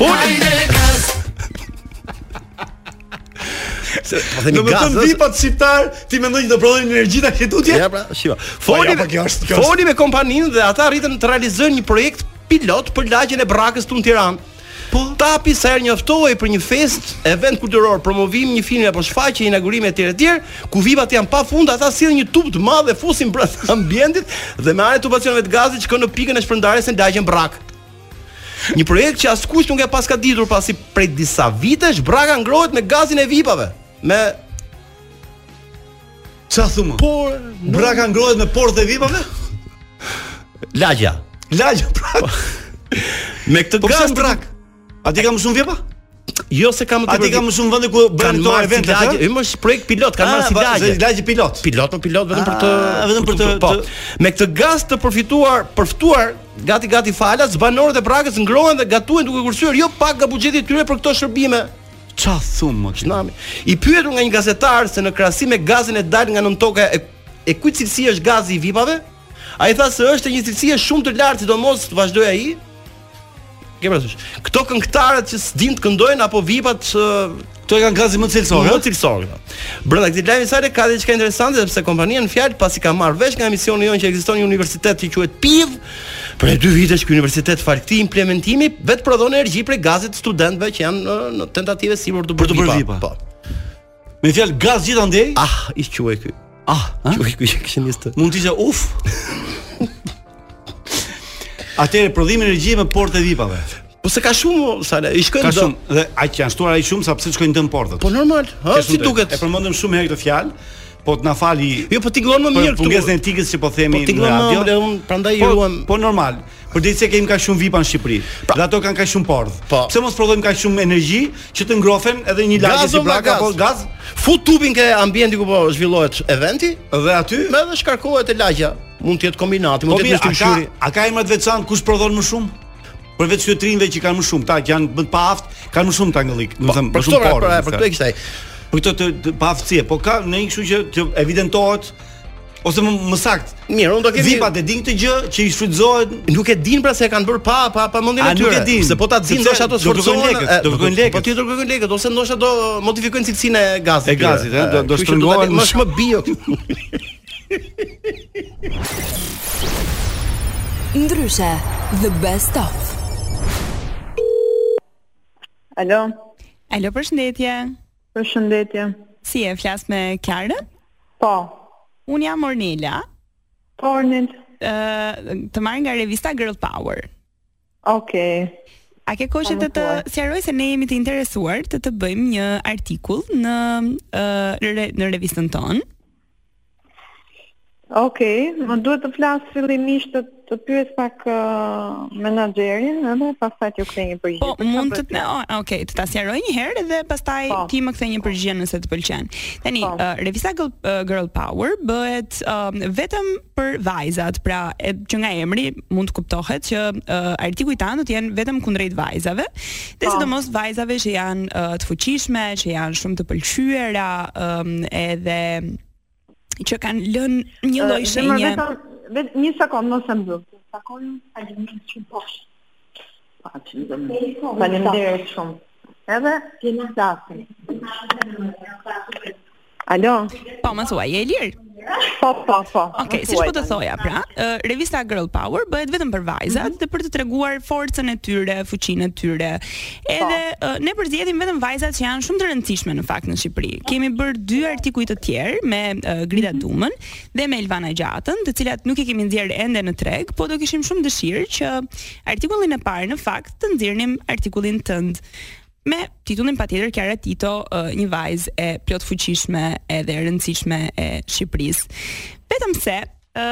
Speaker 2: Hajde
Speaker 6: gas.
Speaker 8: Po themi
Speaker 2: Në më
Speaker 8: gaz, ëh.
Speaker 2: thënë vipat shqiptar, ti mendoj që do prodhojnë energji tash tutje?
Speaker 6: Ja pra, shiva.
Speaker 2: Foli,
Speaker 6: Foli,
Speaker 2: apo kjo është, kjo
Speaker 6: foli me kompaninë dhe ata arritën të realizojnë një projekt pilot për lagjen e Brakës këtu në Tiranë. Po tapi sa herë njoftohej për një fest, event kulturor, promovim një filmi apo shfaqje, inaugurime etj etj, ku vipat janë pafund, ata sillin një tub të madh dhe fusin brenda ambientit dhe me anë të tubacioneve të gazit që kanë në pikën e shpërndarjes në lagjen Brak. Një projekt që askush nuk e paska ditur pasi prej disa vitesh Braka ngrohet me gazin e vipave, me
Speaker 8: Ça thumë?
Speaker 6: Por
Speaker 8: Braka Pra ngrohet me portë dhe vipave?
Speaker 6: lagja.
Speaker 8: Lagja pra.
Speaker 6: Me këtë
Speaker 8: po gaz brak. A ti ka mësuar vjepa?
Speaker 6: Jo se kam
Speaker 8: A ti ka mësuar vende ku bën
Speaker 6: Kanë
Speaker 8: këto
Speaker 6: marrë
Speaker 8: evente?
Speaker 6: si
Speaker 8: Ah,
Speaker 6: lagje, ëmë është projekt pilot, kanë marrë si lagje.
Speaker 8: Lagje pilot.
Speaker 6: Pilot, po pilot vetëm për të
Speaker 8: Ah, vetëm për të-
Speaker 6: po. Me këtë gaz të përfituar, përfituar gati gati falas, banorët e Brakës ngrohen dhe gatuhen duke kursyer jo pak nga buxheti i tyre për këto shërbime.
Speaker 8: Ça thumë?
Speaker 6: Çnami. I pyetur nga një gazetar se në krahasim me gazin e dal nga nën toka e, e kujt cilësi është gazi i vipave? Ai tha se është e një cilësie shumë të lartë, sidomos të vazhdoi ai. Ke parasysh? Këto këngëtarët që s'din të këndojnë apo vipat që
Speaker 8: Këto e kanë gazin më të cilësor,
Speaker 6: Më cilësor. Brenda këtij lajmi sa ka diçka interesante sepse kompania në fjalë pasi ka marrë vesh nga emisioni jonë që ekziston një universitet që quhet PIV, për e dy vitesh ky universitet fal këtij implementimi vetë prodhon energji prej gazit të studentëve që janë në, në tentative si për të
Speaker 8: Për të bërë vipa.
Speaker 6: Po.
Speaker 8: Me fjalë gaz gjithandej?
Speaker 6: Ah, i quaj ky.
Speaker 8: Ah,
Speaker 6: quaj ky që kishin nisë.
Speaker 8: Mund të ishte uf. Atëre prodhimi energjie me portë e vipave.
Speaker 6: Po se ka shumë sa i shkojnë
Speaker 8: Ka
Speaker 6: do-
Speaker 8: shumë dhe aq janë shtuar ai shumë sa pse të shkojnë dëm portët.
Speaker 6: Po normal, ha,
Speaker 8: Ke shumë
Speaker 6: si
Speaker 8: drejt.
Speaker 6: duket.
Speaker 8: E përmendëm shumë herë këtë fjalë, po të na fali.
Speaker 6: Jo, po tingëllon më mirë këtu.
Speaker 8: Për pungesën e etikës që po themi
Speaker 6: Po tingëllon më, ble, unë prandaj i ruam.
Speaker 8: Po normal. Por ditë se kemi kaq shumë po, vipa në Shqipëri,
Speaker 2: Pra,
Speaker 8: dhe ato kanë kaq shumë porth.
Speaker 2: po.
Speaker 8: Pse mos prodhojmë kaq shumë energji që të ngrohen edhe një lagje
Speaker 6: Gazo
Speaker 8: si
Speaker 6: nga
Speaker 8: braka
Speaker 6: gaz.
Speaker 8: po, apo gaz?
Speaker 6: Fut tubin ke ambienti ku po zhvillohet eventi
Speaker 8: dhe aty
Speaker 6: më edhe shkarkohet e lagja. Mund të jetë kombinati,
Speaker 8: Po
Speaker 6: mund të
Speaker 8: mirë,
Speaker 6: jetë
Speaker 8: a ka
Speaker 6: ushqyri.
Speaker 8: a ka emra të veçantë kush prodhon më shumë? Përveç qytetrinëve që kanë më shumë, ta që janë më të paaft, kanë më shumë tangëllik,
Speaker 2: Po,
Speaker 8: do të them,
Speaker 6: për
Speaker 8: më shumë
Speaker 6: këto pra-
Speaker 8: porë.
Speaker 6: pra- për këto e kishte ai.
Speaker 8: Për këto të, të paaftësie, po ka në një kështu që, që evidentohet ose më, më sakt.
Speaker 6: Mirë, unë do kemi
Speaker 8: vipat e din këtë gjë që i shfrytëzohet.
Speaker 6: Nuk e din pra se e kanë bërë pa pa pa mendin
Speaker 8: A,
Speaker 6: e
Speaker 8: nuk
Speaker 6: tyre.
Speaker 8: e din.
Speaker 6: Se po ta din
Speaker 8: Sepse
Speaker 6: ndoshta ato
Speaker 8: do kërkojnë
Speaker 6: sforcohen.
Speaker 8: lekët,
Speaker 6: e,
Speaker 8: do
Speaker 6: po-
Speaker 8: kërkojnë
Speaker 6: Po
Speaker 8: lekët.
Speaker 6: ti do kërkojnë lekët ose ndoshta do modifikojnë cilësinë e gazit.
Speaker 8: E
Speaker 6: tyre.
Speaker 8: gazit, e, do- do
Speaker 6: kështu që ta-
Speaker 8: shtrëngohen-
Speaker 6: Më është më bio.
Speaker 7: Ndryshe, the best of.
Speaker 10: Alo. Alo, përshëndetje. Përshëndetje. Si e flas me Kiara? Po. Unë jam Ornela. Po, Ornel. Ë, të marr nga revista Girl Power. Okej. A ke kohë që të të sqaroj se ne jemi të interesuar të të bëjmë një artikull në ë, re- në revistën tonë?
Speaker 9: Okej, më duhet të flas fillimisht të, të pyes pak uh, menaxherin, edhe pastaj t'ju kthej një përgjigje.
Speaker 10: Po, mund të të, o, okay, të ta sqaroj një herë dhe pastaj ti më kthe një përgjigje nëse të pëlqen. Tani, uh, revista Girl, uh, Girl Power bëhet um, vetëm për vajzat, pra e, që nga emri mund të kuptohet që uh, artikujt tanë do të jenë vetëm kundrejt vajzave, dhe sidomos vajzave që janë uh, të fuqishme, që janë shumë të pëlqyera, um, edhe që kanë lënë një lloj shenje.
Speaker 9: Uh, vetëm një sekond mos e mbyll. Sakon faleminderit shumë poshtë. Faleminderit shumë. Edhe jeni dasëm. Alo.
Speaker 10: Po, më thuaj, je e lirë?
Speaker 9: Po, po, po.
Speaker 10: Okej,
Speaker 9: më
Speaker 10: siç po
Speaker 9: thuaj
Speaker 10: të
Speaker 9: tani. Ah.
Speaker 10: thoja, pra, ë, revista Girl Power bëhet vetëm për vajzat
Speaker 9: Mhm.
Speaker 10: dhe për të treguar forcën e tyre, fuqinë e tyre.
Speaker 9: Po.
Speaker 10: Edhe ë, ne përzgjedhim vetëm vajzat që janë shumë të rëndësishme në fakt në Shqipëri.
Speaker 9: Po.
Speaker 10: Kemi bërë dy artikuj të tjerë me ë, Grida
Speaker 9: Mhm.
Speaker 10: Dumën dhe me Elvana Gjatën, të cilat nuk i kemi nxjerrë ende në treg, po do kishim shumë dëshirë që artikullin e parë në fakt të nxjerrnim artikullin tënd me titullin patjetër Kiara Tito, ë, një vajzë e plot fuqishme edhe e rëndësishme e Shqipërisë. Vetëm se ë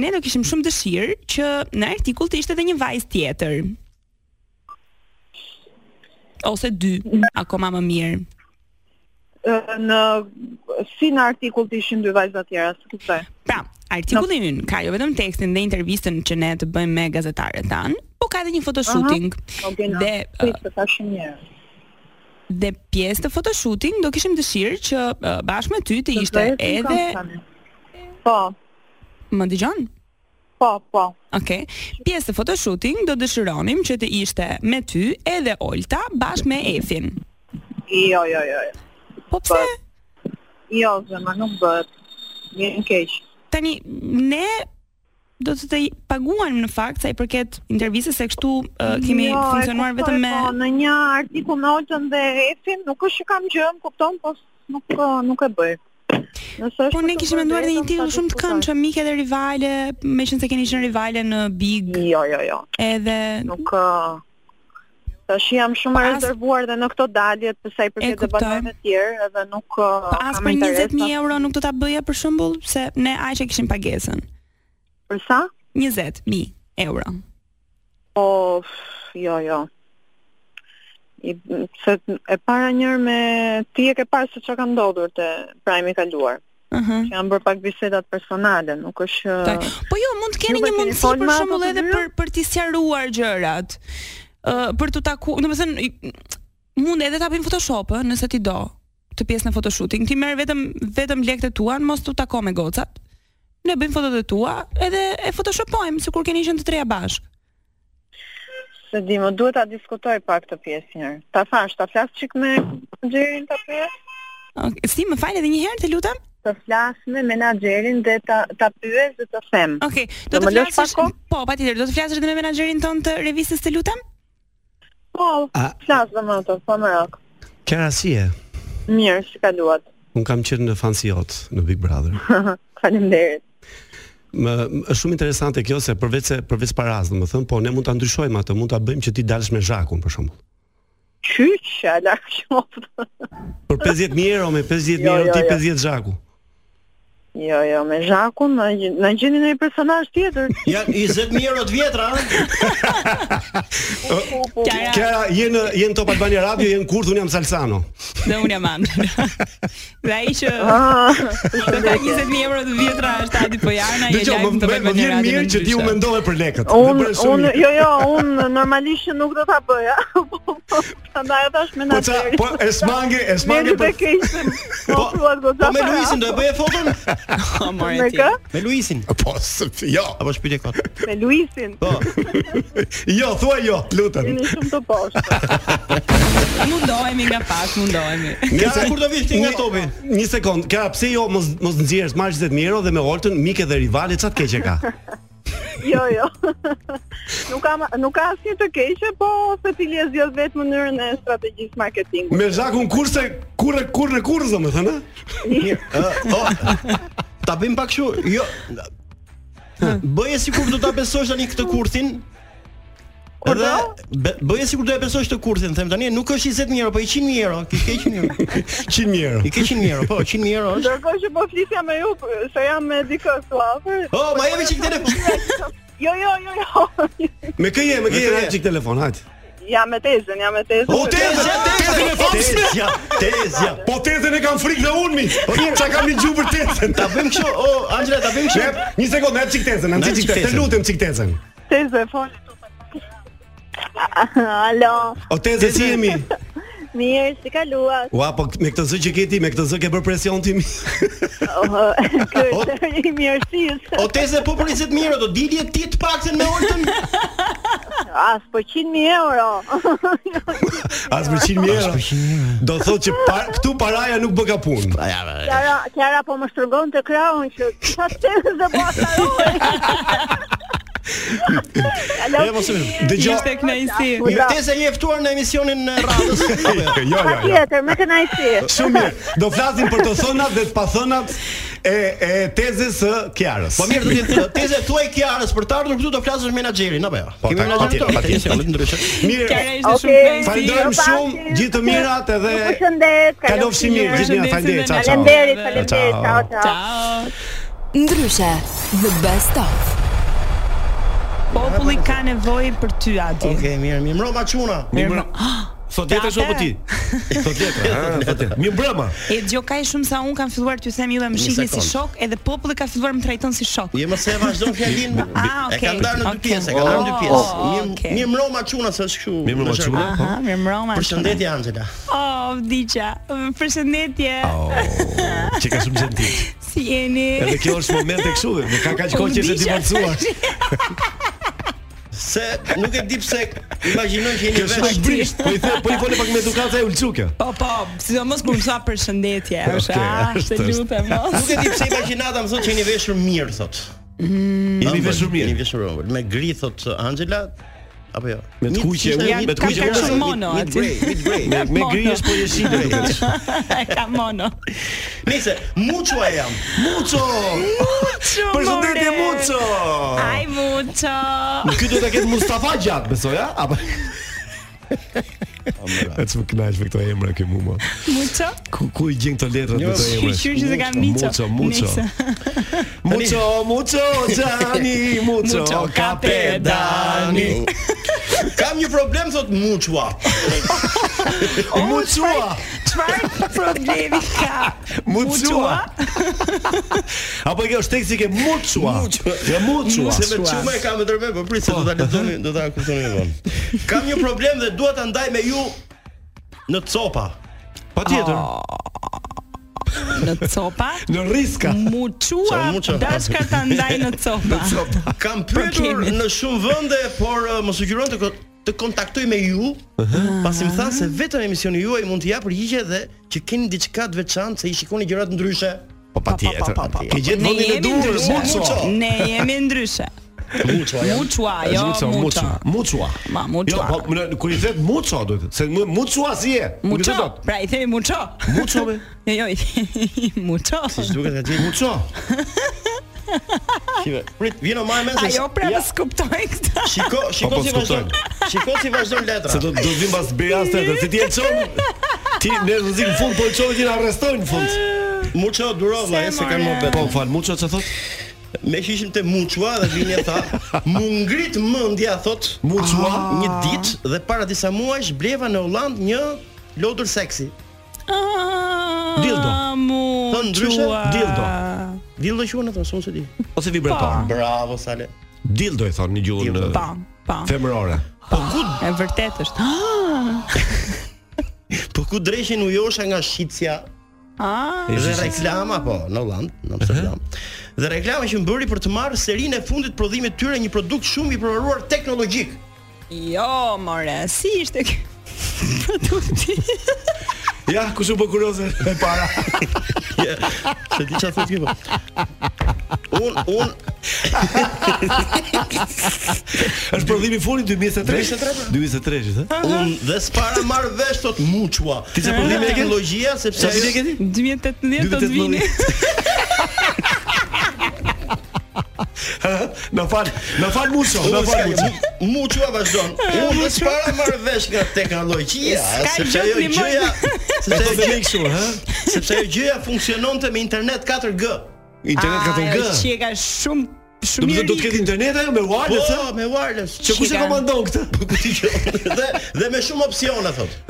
Speaker 10: ne do kishim shumë dëshirë që në artikull të ishte edhe një vajzë tjetër. Ose dy, akoma më mirë.
Speaker 9: Ë, në si në artikull të ishin dy vajza të tjera, si kuptoj.
Speaker 10: Pra, Artikulli ynë ka jo vetëm tekstin dhe intervistën që ne të bëjmë me gazetarët tanë, po ka edhe një photoshooting. Dhe ë,
Speaker 9: Të tash një herë.
Speaker 10: dhe pjesë të photoshooting do kishim dëshirë që ë, bashkë me ty të ishte
Speaker 9: bëhet një
Speaker 10: edhe
Speaker 9: kampanje. Po.
Speaker 10: Më dëgjon?
Speaker 9: Po, po.
Speaker 10: Okej. Pjesë e photoshooting do dëshironim që të ishte me ty edhe Olta bashkë me Efin.
Speaker 9: Jo, jo, jo.
Speaker 10: Po pse?
Speaker 9: Jo, zëma, nuk bëhet. Mirë në keq.
Speaker 10: Tani ne do të të paguajmë në fakt sa i përket intervistës se kështu uh, kemi
Speaker 9: Jo, e
Speaker 10: funksionuar
Speaker 9: kuptoj,
Speaker 10: vetëm me
Speaker 9: po, në një artikull me Oltën dhe Efin, nuk është që kam gjë, më kupton, po s- nuk ë, nuk e bëj. Nëse është
Speaker 10: Po ne
Speaker 9: për të
Speaker 10: kishim
Speaker 9: bërë
Speaker 10: menduar një
Speaker 9: vetëm,
Speaker 10: titull
Speaker 9: ta
Speaker 10: shumë të
Speaker 9: diskutoj.
Speaker 10: këndshëm, miqe dhe rivale, meqense keni qenë rivale në Big.
Speaker 9: Jo, jo, jo.
Speaker 10: Edhe
Speaker 9: nuk ë, Tash jam
Speaker 10: Mhm.
Speaker 9: shumë e
Speaker 10: Po, As-
Speaker 9: rezervuar dhe në këto dalje të sa i përket
Speaker 10: kuptoj.
Speaker 9: debateve të tjerë edhe nuk ë,
Speaker 10: Po as
Speaker 9: kam
Speaker 10: për
Speaker 9: interes,
Speaker 10: 20000
Speaker 9: as-
Speaker 10: euro nuk do ta bëja për shembull, se ne aq e kishim pagesën.
Speaker 9: Për sa?
Speaker 10: 20000 euro.
Speaker 9: Po, f- jo, jo. I, se e para njërë me ti e ke parë se çka ka ndodhur te prime i kaluar.
Speaker 10: Ëh.
Speaker 9: Që janë bërë pak bisedat personale, nuk është ë,
Speaker 10: Po jo, mund të keni
Speaker 9: Ju
Speaker 10: një
Speaker 9: keni
Speaker 10: mundësi
Speaker 9: folë
Speaker 10: për
Speaker 9: me ato
Speaker 10: shembull
Speaker 9: të
Speaker 10: edhe
Speaker 9: dyja?
Speaker 10: për për t'i sqaruar gjërat. Ë për t'u taku, domethënë i- mund edhe ta bëjmë Photoshop ë, nëse ti do të pjesën e photoshooting. Ti merr vetëm vetëm lekët e tua, mos t'u tako me gocat. Ne bëjmë fotot e tua edhe e photoshopojmë sikur keni qenë të treja bashkë.
Speaker 9: se di, më duhet ta diskutoj pak këtë pjesë njërë. Ta thash, ta flas çik me menaxherin ta pyet.
Speaker 10: Okay, si më fal edhe një herë të lutem?
Speaker 9: Të flas me menaxherin dhe ta ta pyes dhe të them.
Speaker 10: Okej, do të
Speaker 9: më lësh
Speaker 10: flasësh. Po, patjetër, do të flasësh edhe me menaxherin ton të revistës të lutem?
Speaker 9: Po, flas dhe më ato, po më rak.
Speaker 8: Klara si e?
Speaker 9: Mirë, si kaluat.
Speaker 8: Un kam qenë në fansi jot në Big Brother.
Speaker 9: Faleminderit.
Speaker 8: Më më- është shumë interesante kjo se përveç se përveç paras, domethënë, po ne mund ta ndryshojmë atë, mund ta bëjmë që ti dalësh me zhakun për shembull.
Speaker 9: Qyç, ala qoftë.
Speaker 8: Për 50000 euro me 50000
Speaker 9: Jo,
Speaker 8: euro
Speaker 9: jo,
Speaker 8: ti
Speaker 9: jo.
Speaker 8: 50 zhaku.
Speaker 9: Jo, jo, me Zhakun, na gj- na gjeni në një personazh tjetër.
Speaker 6: Ja 20000 euro të vjetra, ëh.
Speaker 9: Po.
Speaker 8: Klara, je në je në Top Albania Radio, je në Kurth, un jam Salsano.
Speaker 10: Dhe unë jam andër. Dhe ai që
Speaker 9: Ah,
Speaker 10: do ta 20000 euro të vjetra është Adi Pojana, je
Speaker 8: Dëgjoj,
Speaker 10: live në
Speaker 8: më
Speaker 10: të
Speaker 8: më- më
Speaker 10: Albania
Speaker 8: vjen
Speaker 10: Radio
Speaker 8: mirë
Speaker 10: në
Speaker 8: që ti u
Speaker 10: ndryshe.
Speaker 8: mendove për lekët.
Speaker 9: Un,
Speaker 8: Dhe për shumë
Speaker 9: un,
Speaker 8: mirë.
Speaker 9: jo, jo, un normalisht që nuk do ta bëja. Po, Prandaj e thash me
Speaker 8: Po ça, po e smange, e smange
Speaker 9: për keq. Po, po
Speaker 6: me Luisin do e bëje foton?
Speaker 10: Oh, more
Speaker 9: Me ti. kë?
Speaker 6: Me Luisin.
Speaker 8: Po, s- jo.
Speaker 6: Apo shpytje kot.
Speaker 9: Me Luisin.
Speaker 6: Po.
Speaker 8: jo, thua jo, lutem.
Speaker 9: Jeni shumë të poshtë.
Speaker 10: Mundohemi nga pak, mundohemi.
Speaker 8: topi? Një sekond. Klara, pse jo mos mos nxjerrësh marr 20000 euro dhe me Oltën, mike dhe rivale, çat keq e ka.
Speaker 9: Jo, jo. Nuk ka nuk ka asnjë të keqe, po se ti le zgjodh vetë mënyrën e strategjisë marketingut.
Speaker 8: Me zhakun kurse kurrë kurrë kurrë domethënë.
Speaker 6: Ta bëjmë pak kështu. Jo. Bëje sikur do ta besosh tani këtë kurthin. Edhe bë- bëje sikur do e besosh të kurthin, them tani, nuk është 20000 euro, po 100000 euro, kish ke 100 euro.
Speaker 8: 100 euro.
Speaker 6: I ke 100 euro, po 100 euro është.
Speaker 9: Ndërkohë që po flisja me ju, për- se jam me dikë këtu afër.
Speaker 6: Oh, ma jemi çik telefon.
Speaker 9: Jo, jo, jo, jo.
Speaker 8: Me kë je, me kë je hajde çik telefon, hajt.
Speaker 9: Jam me tezën, jam me tezën.
Speaker 8: O tezë, tezën e famshme.
Speaker 6: Tezja, tezja.
Speaker 8: Po tezën e kam frikë dhe unë mi. Po çka kam një gjuhë për tezën.
Speaker 6: Ta bëjmë kështu. O, Angela, ta bëjmë kështu.
Speaker 8: Një sekond, na çik tezën, na
Speaker 6: Na
Speaker 8: çik
Speaker 6: çik
Speaker 8: tezën. Të
Speaker 6: tezën.
Speaker 8: lutem çik tezën.
Speaker 9: Tezë fol. Alo,
Speaker 8: O tezë si jemi?
Speaker 9: mirë, si kaluat?
Speaker 8: Ua, po me këtë zë që ke ti, me këtë zë ke bër presion ti mi.
Speaker 9: Oh, Kërë i mirësisë.
Speaker 6: O tezë po për 20000 euro do dilje ti të paktën me Oltën.
Speaker 9: As po 100.000 euro.
Speaker 8: As për 100 euro. Do thotë që par, këtu paraja nuk bë ka punë.
Speaker 9: Kjara, Kjara po më shturgon të kraun që sa tezë dhe po asaroj. Alo.
Speaker 6: E, mos e mirë. Dëgjo. Ishte
Speaker 10: kënaqësi.
Speaker 6: Tezja je ftuar në emisionin e radhës.
Speaker 8: Jo, jo,
Speaker 9: Pa
Speaker 8: jo.
Speaker 9: tjetër, me kënaqësi.
Speaker 8: Shumë mirë. Do flasim për të thënat dhe të pathënat e e tezës së Kiarës.
Speaker 6: Po mirë, do të jetë teza tuaj Kiarës për të ardhur këtu do flasësh me menaxherin apo jo?
Speaker 8: Po,
Speaker 6: Kemi
Speaker 8: ta- patjetër,
Speaker 6: menaxherin
Speaker 8: patjetër.
Speaker 6: patjetër, ndryshe.
Speaker 8: Mirë.
Speaker 10: Kjara ishte
Speaker 9: Okej,
Speaker 10: shumë kënaqësi.
Speaker 8: Falenderojmë shumë, gjithë të mirat edhe
Speaker 9: Ju përshëndes.
Speaker 8: kalofshi mirë, gjithë mirë, faleminderit, ciao, ciao.
Speaker 9: Faleminderit, faleminderit. Ciao,
Speaker 8: Ciao.
Speaker 9: ciao.
Speaker 17: Ndryshe, the best of.
Speaker 10: Populli ka nevojë për ty Adi.
Speaker 6: Okej, mirë, mirë mbrëma çuna.
Speaker 10: Mirë mbrëma.
Speaker 6: Sot jetë
Speaker 10: Tate.
Speaker 6: shoku ti. Sot jetë. Sot jetë.
Speaker 8: Mirë mbrëma.
Speaker 10: E djo ka e shumë sa un kam filluar t'ju them juve më
Speaker 6: Një
Speaker 10: shihni si
Speaker 6: sekond.
Speaker 10: shok, edhe populli ka filluar më trajton si shok.
Speaker 6: Je mos e vazhdon fjalin.
Speaker 10: Ah,
Speaker 6: E ka
Speaker 10: okay,
Speaker 6: ndarë në dy
Speaker 10: okay.
Speaker 6: pjesë, e ka ndarë në dy pjesë.
Speaker 10: Oh,
Speaker 6: Mirë,
Speaker 10: okay.
Speaker 6: mirë mbrëma çuna se është kështu.
Speaker 8: Mirë mbrëma,
Speaker 6: është
Speaker 8: çuna.
Speaker 6: rregull.
Speaker 2: po,
Speaker 10: Aha, Ah, mirë mbroma.
Speaker 6: Përshëndetje Angela.
Speaker 10: Oh, vdiqa. Përshëndetje.
Speaker 8: Që ka shumë gentil.
Speaker 10: Si jeni?
Speaker 2: Edhe kjo është momente kështu, nuk ka kaq kohë që është divorcuar.
Speaker 6: Se nuk e di pse imagjinoj që jeni
Speaker 2: Kjo
Speaker 6: vesh.
Speaker 2: është brisht. Po i the, po i fole pak me edukatë e ulçu kjo.
Speaker 10: Po po, sidomos kur më tha përshëndetje, është
Speaker 2: Okej,
Speaker 10: ah,
Speaker 2: është,
Speaker 10: të
Speaker 2: është.
Speaker 10: lutem mos.
Speaker 6: Nuk e di pse imagjinata më thotë që jeni veshur mirë thot.
Speaker 10: Mm.
Speaker 2: Jeni veshur
Speaker 6: mirë. Jeni veshur ëmbël. Me gri thot Angela apo jo?
Speaker 2: Me të kuqe,
Speaker 10: Ja,
Speaker 2: me të
Speaker 10: kam
Speaker 2: kuqe
Speaker 10: kaqë
Speaker 2: ose-
Speaker 10: mono
Speaker 6: me
Speaker 10: aty.
Speaker 6: grey, me grey.
Speaker 2: Me, me
Speaker 10: Mono.
Speaker 2: grijesh po je shitje duket.
Speaker 10: Ka mono.
Speaker 6: Nice, muço e jam. Muço.
Speaker 10: Muço.
Speaker 2: Përshëndetje,
Speaker 10: more.
Speaker 2: Muço.
Speaker 10: Ai Muço.
Speaker 2: Ky do ta ketë Mustafa gjat, besoj, a? Apo Atë më kënaqsh me këto emra që mua.
Speaker 10: Muço.
Speaker 2: Ku ku i gjen këto letra me
Speaker 10: Jo,
Speaker 2: këto emra?
Speaker 10: shqyr që se kam Miço.
Speaker 2: Muço, Muço.
Speaker 10: Nice.
Speaker 2: Muço, Muço, Gianni, Muço,
Speaker 6: Muço,
Speaker 2: Capedani.
Speaker 6: Kam një problem thot muçua.
Speaker 2: Muçua.
Speaker 10: Çfarë problemi ka?
Speaker 2: Muçua. Apo kjo është teksti ke Muçua. Ja Muçua.
Speaker 6: Se me çuma e kam ndërmend, po prit se do ta lexoni, do ta kuptoni më vonë. Kam një problem dhe dua ta ndaj me ju në copa.
Speaker 2: Patjetër.
Speaker 10: Në copa?
Speaker 2: Në riska.
Speaker 10: Muçua. Dashka ta ndaj në copa.
Speaker 6: Kam pyetur
Speaker 10: Përkimit.
Speaker 6: në shumë vende, por uh, mos u qyron të ko- të kontaktoj me ju, pasi më thanë se vetëm emisioni juaj mund të jap përgjigje dhe që keni diçka të veçantë se i shikoni gjërat ndryshe.
Speaker 2: Po patjetër. Ke gjetë
Speaker 10: Ne
Speaker 2: vendin e
Speaker 10: jemi
Speaker 2: dur,
Speaker 10: ndryshe.
Speaker 2: Muçua.
Speaker 10: Ne jemi ndryshe.
Speaker 6: Muçua.
Speaker 2: jam.
Speaker 10: Muçua, jo
Speaker 2: Muçua,
Speaker 10: Muçua.
Speaker 2: Muçua. Muçua.
Speaker 10: Ma, Muçua.
Speaker 2: Jo, po më- kur i thet Muçua duhet. Se mu- Muçua si je? Nuk e
Speaker 10: Muço.
Speaker 2: the dot.
Speaker 10: Pra i themi Muço.
Speaker 2: Muço po, be.
Speaker 10: Jo, jo, i themi Muço.
Speaker 6: Duket ka gjetë
Speaker 2: Muço.
Speaker 6: Shive, prit, vjen o marr mend se.
Speaker 10: Ajo pra më skuptoj këtë.
Speaker 6: Shiko,
Speaker 2: Po, po,
Speaker 6: shiko si
Speaker 2: s'kuptoj.
Speaker 6: vazhdon. Shiko si vazhdon letra.
Speaker 2: Se do do vim pas Berias tetë, se ti e lçon. Ti ne rrezik në fund, po lçon ti na arrestojnë në fund.
Speaker 6: Muço durova, e se kanë më
Speaker 2: Po, fal, Muço çfarë thot?
Speaker 6: Me që ishim te Muçua dhe vini e tha, mu ngrit mendja thot Ah.
Speaker 2: Muçua
Speaker 6: një ditë dhe para disa muajsh bleva në Holland një lodër seksi.
Speaker 2: Dildo.
Speaker 6: Po ndryshe
Speaker 2: Dildo.
Speaker 6: Dildo quhen atë, s'u se di.
Speaker 2: Ose vibrator.
Speaker 6: Bravo Sale.
Speaker 2: Dildo i thon në gjuhën
Speaker 10: Pa,
Speaker 2: eh,
Speaker 10: pa.
Speaker 2: femërore.
Speaker 6: Po ku
Speaker 10: E vërtet është. Ah!
Speaker 6: po ku dreshin ujosha nga shitja
Speaker 10: Ah!
Speaker 6: Dhe reklama po, në Holland, në
Speaker 2: Mhm.
Speaker 6: Amsterdam. Dhe reklama që më bëri për të marrë serinë e fundit prodhimit tyre një produkt shumë i provuar teknologjik.
Speaker 10: Jo, more, si ishte ky produkti?
Speaker 2: Ja, kush u bë kurioze e para.
Speaker 6: Ja, Se di çfarë thotë kjo. po. Un un
Speaker 2: Është prodhimi i fundit 2023.
Speaker 6: 2023.
Speaker 2: 2023, ëh?
Speaker 6: un dhe s'para marr vesh thot muçua.
Speaker 2: Ti se prodhimi e ke?
Speaker 6: teknologjia sepse
Speaker 2: Sa vite ke ti?
Speaker 10: 2018 do të vini.
Speaker 2: Na fal, na fal Muço, na fal Muço.
Speaker 6: Muçua vazhdon. Un dhe s'para marr vesh nga teknologjia
Speaker 10: S'ka
Speaker 6: sepse ajo
Speaker 10: gjë t'mi
Speaker 6: gjëja sepse ajo gjëja
Speaker 2: kështu, ha?
Speaker 6: sepse ajo gjëja funksiononte me internet 4G.
Speaker 2: Internet ka të
Speaker 10: Ajo
Speaker 2: ngë.
Speaker 10: qeka shumë
Speaker 2: Do
Speaker 10: shumë
Speaker 2: të
Speaker 10: mirë.
Speaker 2: do të ketë internet ajo me wireless,
Speaker 6: Po,
Speaker 2: ha?
Speaker 6: me wireless.
Speaker 2: Që kush e
Speaker 10: Qika.
Speaker 2: komandon këtë?
Speaker 6: Po ku ti që dhe dhe me shumë opsione thot.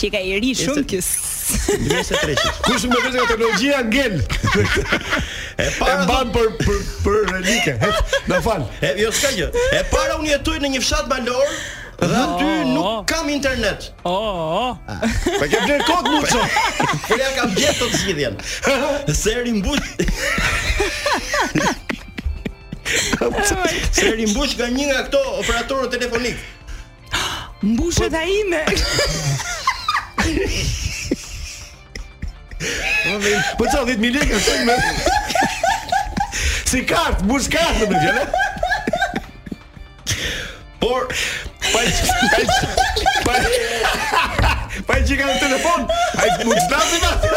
Speaker 10: Qeka i ri shumë ky.
Speaker 6: 23.
Speaker 2: Kush më vjen nga teknologjia ngel.
Speaker 6: E
Speaker 2: E
Speaker 6: para
Speaker 2: mban për për për relike. Na fal.
Speaker 6: E jo s'ka gjë. E para unë jetoj në një fshat malor dhe aty nuk kam internet.
Speaker 10: Oh, oh.
Speaker 2: Pa ke bler kod Muço.
Speaker 6: Po ja kam gjetë të zgjidhjen. Se rimbush Se rimbush nga një nga këto operatorët telefonik.
Speaker 10: Mbushet ai me.
Speaker 2: Po ça 10000 lekë shtoj me. Si kart, mbush kartën me fjalë.
Speaker 6: Por
Speaker 2: Pa i- pa i- pa i- pa i qika në telefon. Ai më çdasim atë.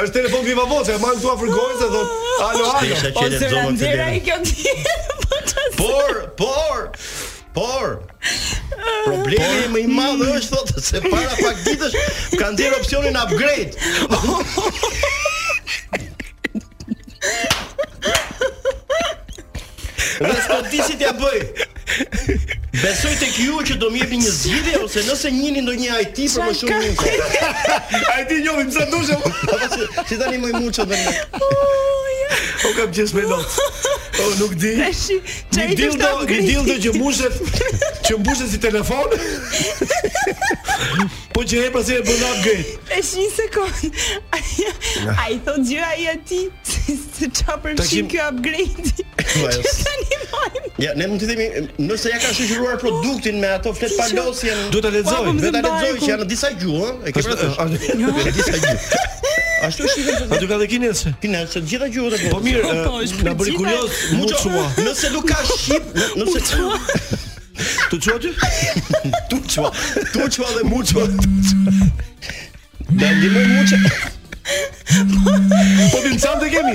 Speaker 2: Është telefon viva voce, e marr këtu afër gojës dhe thot, "Alo, alo."
Speaker 6: Isha
Speaker 10: Po
Speaker 6: që
Speaker 10: se
Speaker 6: lexova këtë
Speaker 10: ranxera i
Speaker 6: letër.
Speaker 10: kjo ti. Po çfarë?
Speaker 6: Por, por, por Problemi më i madh është thotë se para pak ditësh ka ndjer opsionin upgrade. Dhe s'po di si t'ja bëj. Besoj tek ju që do më jepni një zgjidhje ose nëse njihni ndonjë IT për më shumë info.
Speaker 2: Ai ti njohim sa dushëm.
Speaker 6: Apo si, si tani më i muçë dhe më.
Speaker 2: O
Speaker 8: po
Speaker 2: kam qesh me lot. O nuk di.
Speaker 10: Tash, çai
Speaker 2: Një dildo, një dildo që mushet, që që mbushet si telefon. po që hep pas e bën upgrade.
Speaker 10: Tash një sekond. Ai thot gjë ai aty se se çfarë përfshin
Speaker 6: Takim-
Speaker 10: ky upgrade.
Speaker 6: Vajos.
Speaker 10: Që tani mojmë.
Speaker 6: Ja, ne mund të themi nëse ja ka shoqëruar produktin me ato flet palosjen.
Speaker 2: Duhet ta lexoj.
Speaker 6: Duhet ta lexoj që janë në disa gjuhë, ëh, e ke
Speaker 2: Ashtu-
Speaker 6: parasysh.
Speaker 2: ashtu-
Speaker 6: Në disa gjuhë. Ashtu është shifën.
Speaker 2: Aty ka dhe kinese.
Speaker 6: Kinese, të gjitha gjuhët e botës.
Speaker 2: Po mirë, eh,
Speaker 6: Po, është
Speaker 2: na
Speaker 6: për
Speaker 2: bëri
Speaker 6: gjitha-
Speaker 2: kurioz Muçua.
Speaker 6: Nëse nuk ka shqip, në- nëse
Speaker 2: Tu çua ti?
Speaker 6: Tu çua. Tu çua dhe mu çua. Da ndihmoj mu çua.
Speaker 2: Po ti çam të kemi.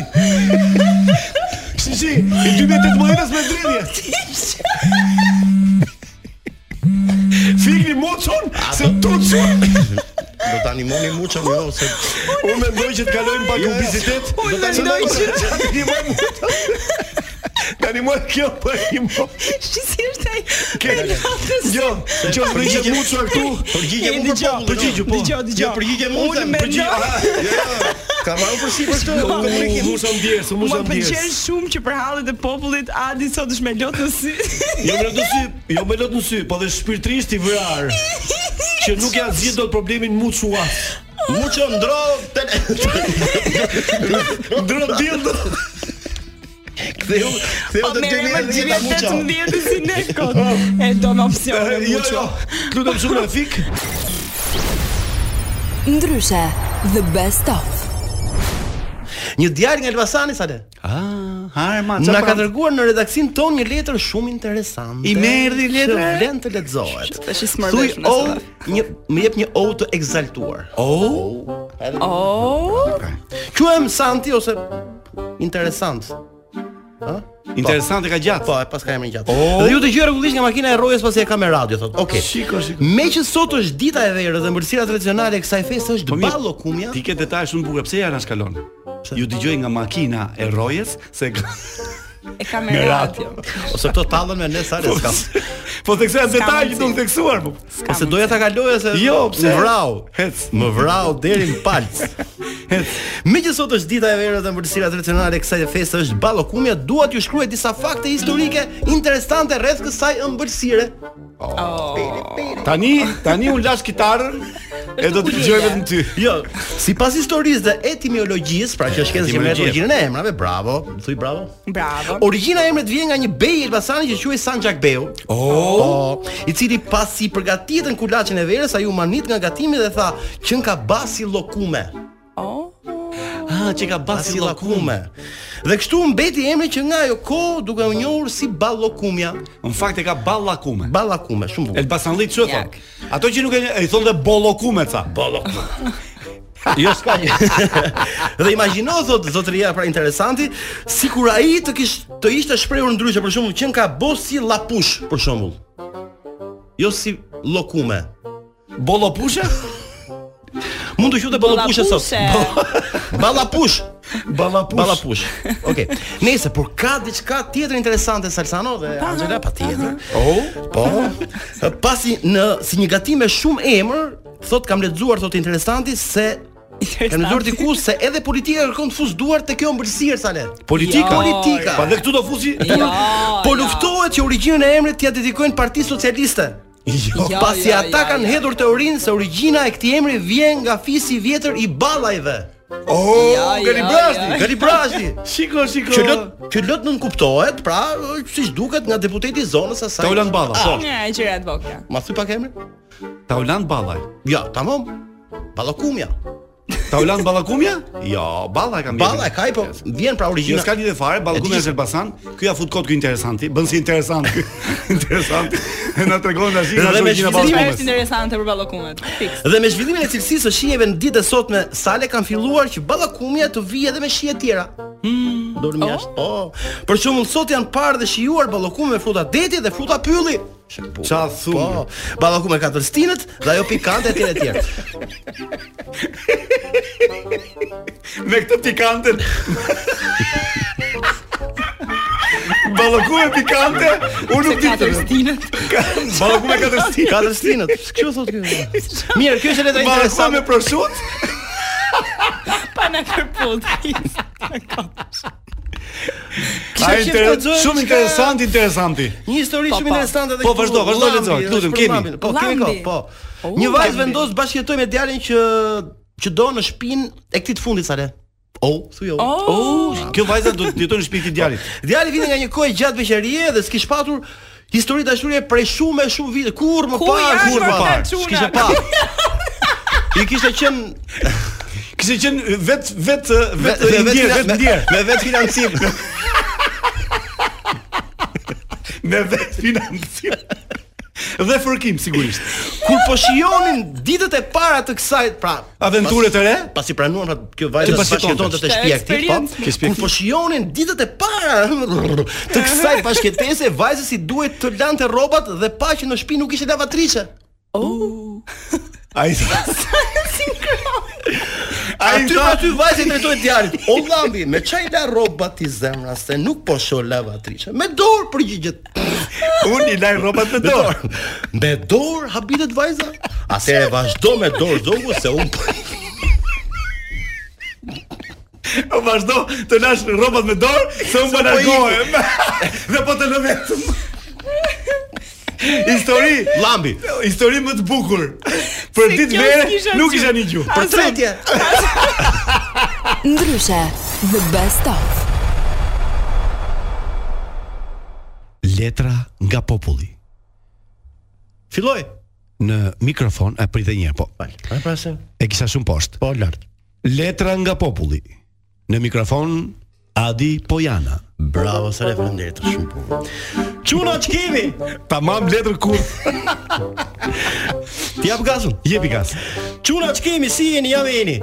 Speaker 2: Si si, i 2018-s me dridhje. Fikni muçun se tu çua.
Speaker 6: Do ta animoni muçën jo se
Speaker 2: Unë mendoj që të kalojmë pak publicitet.
Speaker 6: Do ta
Speaker 2: animoj
Speaker 6: animoj që-
Speaker 2: Tani më kjo po i mo.
Speaker 10: Shi si është ai?
Speaker 2: Ke. Jo, që më rriqe muçu këtu.
Speaker 6: Përgjigje
Speaker 2: E,
Speaker 6: mu për
Speaker 2: dëgjoj,
Speaker 6: popull,
Speaker 2: Përgjigje po.
Speaker 10: dëgjoj, dëgjoj.
Speaker 6: Jo, përgjigje mu,
Speaker 10: Unë
Speaker 6: them,
Speaker 10: mendoj-
Speaker 6: përgjigje- aha, jo, jo. Ka marrë për si për këtë
Speaker 10: Shko.
Speaker 6: komunikim.
Speaker 2: Musa ndjes, musa
Speaker 10: Më pëlqen
Speaker 2: ndjes.
Speaker 10: shumë që për hallet e popullit Adi sot është me lot në sy.
Speaker 2: Jo më lot në sy, jo më lot në sy, po dhe shpirtrisht i vrar. Që nuk ja zgjidh dot problemin muçua.
Speaker 6: Muço ndro
Speaker 2: Ndro
Speaker 8: Pra,
Speaker 2: dildo.
Speaker 6: Ktheu,
Speaker 2: Jo,
Speaker 6: ktheu
Speaker 10: Po
Speaker 6: të dy
Speaker 10: merrem
Speaker 6: herë
Speaker 10: me
Speaker 6: gjitha muço.
Speaker 10: 2018 si ne kot. E do në opsion
Speaker 2: Eh, Jo, jo. Lutem shumë na fik.
Speaker 7: Ndryshe, the best of.
Speaker 6: Një djalë nga Elbasani sa le.
Speaker 8: Ah, ha, ma,
Speaker 6: Na ka
Speaker 8: dërguar
Speaker 6: dërguar në redaksin ton një letër shumë interesante.
Speaker 8: I merri letra?
Speaker 6: Që vlen të lexohet.
Speaker 10: Tash i
Speaker 6: Thuj
Speaker 10: smërvesh
Speaker 6: o,
Speaker 10: nëse.
Speaker 6: një më jep një o të egzaltuar.
Speaker 8: O.
Speaker 10: Oh,
Speaker 6: Quhem Santi ose interesant. Ë?
Speaker 8: Interesante ka gjatë.
Speaker 6: Po, e pas ka emrin gjatë.
Speaker 8: O.
Speaker 10: Oh.
Speaker 6: Dhe ju të gjë rregullisht nga makina e rrojës pasi e ka me radio thotë. Okej.
Speaker 8: Shiko, shiko.
Speaker 6: Me që sot është dita e verës dhe mbërësira tradicionale e kësaj feste është ballo kumja.
Speaker 8: Po Ti ke detaje shumë bukur, pse ja na shkalon? Ju dëgjoj nga makina e rojes se ka
Speaker 10: e kam
Speaker 8: me
Speaker 10: me
Speaker 8: radio.
Speaker 6: Ose këto tallën me ne sa le s'ka.
Speaker 8: Po theksa
Speaker 10: S'ka
Speaker 8: detaje
Speaker 10: mundsi.
Speaker 8: që do të theksuar po.
Speaker 6: Ose doja ta kaloja se
Speaker 8: Jo, pse?
Speaker 6: më vrau.
Speaker 8: Hec.
Speaker 6: Më vrau deri në palc. Me që sot është dita e verës dhe mbërësira tradicionale e kësaj feste është ballokumja, dua t'ju shkruaj disa fakte historike interesante rreth kësaj ëmbëlsire.
Speaker 8: Tani, tani un lash kitarën e do të dëgjoj vetëm ty.
Speaker 6: Jo, sipas historisë dhe etimologjisë, pra që shkencë që merret
Speaker 8: Etimologjia.
Speaker 6: origjinën e emrave, bravo, thuj bravo.
Speaker 10: Bravo.
Speaker 6: Origjina e emrit vjen nga një bej i Elbasani që quhej Sanxhak Beu. Oh. i cili pasi përgatitën kulaçin e verës, ai u manit nga gatimi dhe tha, "Qën ka basi llokume."
Speaker 10: Oh.
Speaker 8: Ah, që ka
Speaker 6: Basi llokume. Dhe kështu mbeti emri që nga ajo kohë duke u njohur si ballokumja.
Speaker 8: Në fakt e ka ballakume.
Speaker 6: Ballakume, shumë bukur.
Speaker 8: Elbasanllit çu e thon. Ato që nuk e e i thon dhe bollokume ca. Bollokume. Jo s'ka.
Speaker 6: Dhe imagjino thot zotëria pra interesanti, sikur ai të kish të ishte shprehur ndryshe për shembull që ka bosi llapush për shembull. Jo si llokume.
Speaker 8: Bollopushe?
Speaker 6: Mund të quhet ballapushe sot. Bo- Ballapush.
Speaker 8: Ballapush.
Speaker 6: Ballapush. Okej. Nëse por ka diçka tjetër interesante Salsano dhe Angela patjetër.
Speaker 8: Oh,
Speaker 6: Po. Pasi në si një gatim me shumë emër, thot kam lexuar thot interesanti se Kam lexuar diku se edhe politika kërkon të fus duar te kjo ëmbëlsirë sa le.
Speaker 8: politika.
Speaker 6: Politika.
Speaker 8: Pa dhe këtu do fusi.
Speaker 6: Po luftohet që origjinën e emrit t'ia dedikojnë Partisë Socialiste.
Speaker 8: Jo.
Speaker 10: Jo,
Speaker 6: Pasi
Speaker 10: jo,
Speaker 6: ata
Speaker 10: jo,
Speaker 6: kanë
Speaker 10: jo.
Speaker 6: hedhur teorinë se origjina e këtij emri vjen nga fisi i vjetër i ballajve.
Speaker 8: Oh,
Speaker 10: Jo,
Speaker 8: gani
Speaker 10: jo,
Speaker 8: brashti.
Speaker 6: Gali Po Brazdi.
Speaker 8: Shiko, shiko.
Speaker 6: Që lot që lot nën kuptohet, pra siç duket nga deputeti i zonës asaj.
Speaker 8: Taulan Balla. Po,
Speaker 6: Ah,
Speaker 10: Një e gjëra të vogla.
Speaker 6: Ma thuj pak emrin?
Speaker 8: Taulan Ballaj.
Speaker 6: Jo, tamam. Ballakumja.
Speaker 8: Taulan Ballakumja? Jo, Balla e kam bjerë.
Speaker 6: Balla e kaj po vjen pra
Speaker 8: Jo
Speaker 6: origjina.
Speaker 8: s'ka lidhje fare, Ballkumja
Speaker 6: E di-
Speaker 8: është Elbasan. Ky ja fut kot ky interesanti, bën si interesant ky. interesant. E na tregon tash nga
Speaker 6: Dhe me
Speaker 8: origjina e
Speaker 10: Zimi është
Speaker 8: Ballkumës.
Speaker 10: interesante për ballokumet. Fiks.
Speaker 6: Dhe me zhvillimin e cilësisë së shijeve në ditët e sotme, sale kanë filluar që ballakumja të vijë edhe me shije tjera. Hmm, dorë më jashtë. Po. Për shembull, sot janë parë dhe shijuar ballakume me fruta deti dhe fruta pylli.
Speaker 8: Ça thumë?
Speaker 6: Po, ballakume ka tërstinët dhe ajo pikante etj etj.
Speaker 8: Me këtë pikantën. Ballakuja pikante, unë nuk di. Ka- Ballakuja katërstin.
Speaker 6: Ka tërstinët. Ç'u thotë ky? Mirë, kjo është letra
Speaker 8: Ballakuja me
Speaker 6: interesante.
Speaker 8: prosciut?
Speaker 10: Pa na kërput.
Speaker 6: Kisha
Speaker 8: Ai
Speaker 6: qef
Speaker 8: inter-
Speaker 6: të lexoj
Speaker 8: shumë
Speaker 6: diçka-
Speaker 8: interesant, interesanti.
Speaker 6: Një histori
Speaker 8: Po,
Speaker 6: shumë
Speaker 8: po.
Speaker 6: interesante edhe
Speaker 8: Po,
Speaker 6: këtu,
Speaker 8: vazhdo, vazhdo,
Speaker 6: Lambi,
Speaker 8: lexoj,
Speaker 6: edhe
Speaker 8: lutem,
Speaker 6: për
Speaker 8: kemi.
Speaker 6: Lambin. Po, kemi kohë,
Speaker 8: Lambi.
Speaker 6: po.
Speaker 8: U,
Speaker 6: Një vajzë
Speaker 8: Lambi.
Speaker 6: vendos bashkëjetoj me djalin që që do në shtëpinë e këtij të fundit sa le. Oh, thuj oh.
Speaker 8: Oh, kjo vajza do të jetojë në shtëpi të djalit.
Speaker 6: Djali vjen nga një kohë e gjatë veqërie dhe s'kish patur histori dashurie prej shumë e shumë vite. Kur më
Speaker 8: Ku
Speaker 6: parë,
Speaker 8: janë
Speaker 6: kur më
Speaker 8: vërtet
Speaker 6: parë.
Speaker 8: çunat?
Speaker 6: S'kishte pa. I kishte qenë
Speaker 8: kishte qenë vet vet vet
Speaker 6: me
Speaker 8: ndjer,
Speaker 6: finan-
Speaker 8: vet
Speaker 6: me-
Speaker 8: ndjer.
Speaker 6: Me vet financim.
Speaker 8: me vet financim. Dhe fërkim sigurisht.
Speaker 6: Kur po shijonin ditët e para të kësaj, pra,
Speaker 8: Aventure të re?
Speaker 6: pasi pranuan pra kjo
Speaker 8: Që
Speaker 6: vajza
Speaker 8: pas
Speaker 6: bashkëtonte të
Speaker 8: jetonte.
Speaker 6: shtëpia e këtij, po.
Speaker 8: Ke shtëpi e
Speaker 6: Kur po shijonin ditët e para të kësaj bashkëtese, vajza si duhet të lante rrobat dhe pa që në shtëpi nuk ishte lavatriçe. Oh.
Speaker 8: Ai
Speaker 6: Ai ty aty vajza i drejtoi djalit. O vllambi, me çaj la rrobat ti zemra se nuk po shoh lavatriçe. Me dorë përgjigjet.
Speaker 8: Unë i laj rrobat me dorë.
Speaker 6: Me dorë habitet vajza. Atëre vazhdo me dorë zogu se unë po
Speaker 8: O Po vazhdo të lash rrobat me dorë se unë po largohem. Dhe po të lë vetëm. Histori
Speaker 6: Lambi.
Speaker 8: Histori më të bukur. Për ditë vere nuk isha një gjuhë.
Speaker 6: Për tretje.
Speaker 7: Ndryshe, the best of.
Speaker 8: Letra nga populli.
Speaker 6: Filloj
Speaker 8: në mikrofon, e pritë një herë, po.
Speaker 6: Ai pra se
Speaker 8: E kisha shumë poshtë. Po lart. Letra nga populli. Në mikrofon Adi Pojana.
Speaker 6: Bravo sa le vëndet shumë po.
Speaker 8: Çuna çkimi. Tamam letër kur.
Speaker 6: Ti jap gazun.
Speaker 8: Jepi gaz.
Speaker 6: Çuna çkemi si jeni jam eni.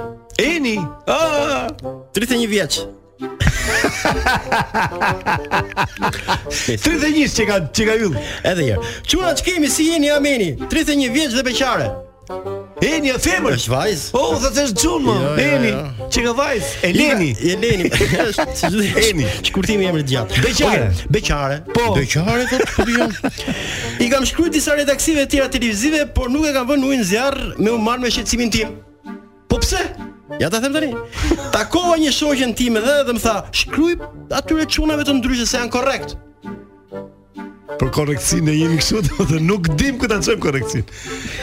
Speaker 8: Eni.
Speaker 6: Ah, 31 vjeç.
Speaker 8: 31 që ka që ka yll.
Speaker 6: Edhe një. Çuna çkemi si jeni jam eni. 31 vjeç dhe beqare.
Speaker 8: Eni e femër.
Speaker 6: Është vajz.
Speaker 8: Oh, dhe të është gjunë, më.
Speaker 6: Jo, jo,
Speaker 8: Eni,
Speaker 6: jo.
Speaker 8: që ka vajzë. Eleni.
Speaker 6: Eleni. Eni. Shkurtimi i emrit gjatë.
Speaker 8: Beqare.
Speaker 6: Okej, Beqare.
Speaker 8: Po.
Speaker 6: Beqare thotë po jam. I kam shkruar disa redaksive të tjera televizive, por nuk e kam vënë ujin në zjarr me u marr me shqetësimin tim. Po pse? Ja ta them tani. Takova një shoqen time dhe dhe më tha, "Shkruaj atyre çunave të ndryshe se janë korrekt."
Speaker 8: Për korreksin e jemi kështu, do të nuk dim ku ta çojmë korreksin.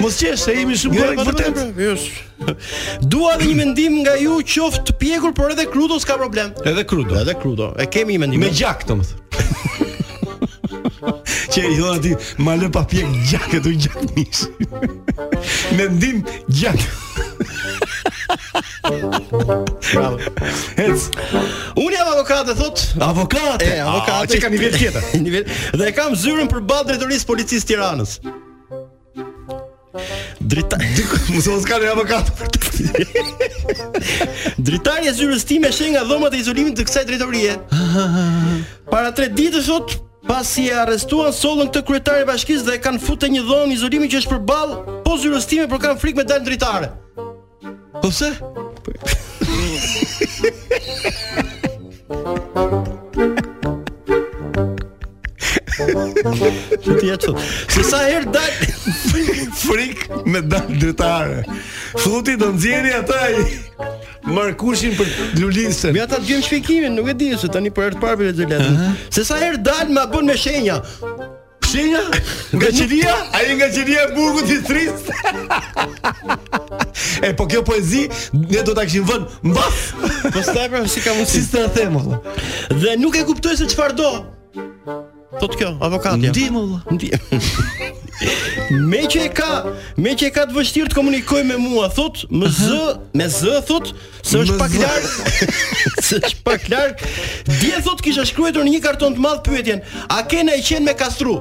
Speaker 8: Mos qesh, se jemi shumë korrekt vërtet.
Speaker 6: Dua dhe një mendim nga ju, qoftë të pjekur, por edhe krudo s'ka problem.
Speaker 8: Edhe krudo.
Speaker 6: Edhe krudo. E kemi një mendim.
Speaker 8: Me gjak, domethënë. Që i thonë ti, ma lë pa pjek gjak e tu gjak mish Me ndim gjak
Speaker 6: Bravo.
Speaker 8: Hec
Speaker 6: Unë jam avokat e thot.
Speaker 8: Avokate
Speaker 6: E, avokate.
Speaker 8: A, Që ka nivel tjetër
Speaker 6: Nivel dhe e kam zyrën përballë drejtorisë policisë Tiranës. Drita
Speaker 8: Muso s'ka në avokat
Speaker 6: Dritari e zyrës time sheh nga dhomat e izolimit të kësaj drejtorie. Para 3 ditësh sot pasi e arrestuan sollën këtë kryetare bashkisë dhe e kanë futë në një dhomë izolimi që është përballë po zyrës time por kanë frikë me dalë dritare.
Speaker 8: Po pse?
Speaker 6: Që ti atë. Se sa herë dal
Speaker 8: Frik me dal dritare Futi do nxjerri ata i Markushin për lulisën
Speaker 6: Ja ta dëgjojmë shpjegimin, nuk e di se tani për herë të parë për Lezoletën. Se sa herë dal ma bën me shenja.
Speaker 8: Shenja? Nga qelia? Ai nga qelia e burgut i tris E po kjo poezi Ne do ta kishim vënë mbas
Speaker 6: Po s'ta pra si ka mundsi.
Speaker 8: Si s'ta them valla
Speaker 6: Dhe nuk e kuptoj se çfarë do. Thot kjo, avokatja.
Speaker 8: Ndim valla
Speaker 6: Me që e ka, me që e ka të vështirë të komunikoj me mua, thot, më zë, me zë thot, se është pak larg, se është pak larg. Dje thot kisha shkruar në një karton të madh pyetjen, a ke ndaj qenë me kastru?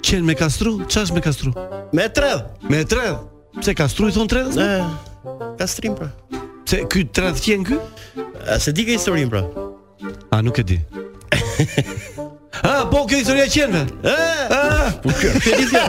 Speaker 8: Qen me kastru? Ç'është me kastru?
Speaker 6: Me tredh.
Speaker 8: Me tredh. Pse kastru i thon tredhës?
Speaker 6: E, kastrim pra.
Speaker 8: Pse ky tredh qen ky?
Speaker 6: A, se di ke historinë pra.
Speaker 8: A nuk e di. Ah, po kjo historia e qenve. Ah,
Speaker 6: Po kjo, ti di kjo.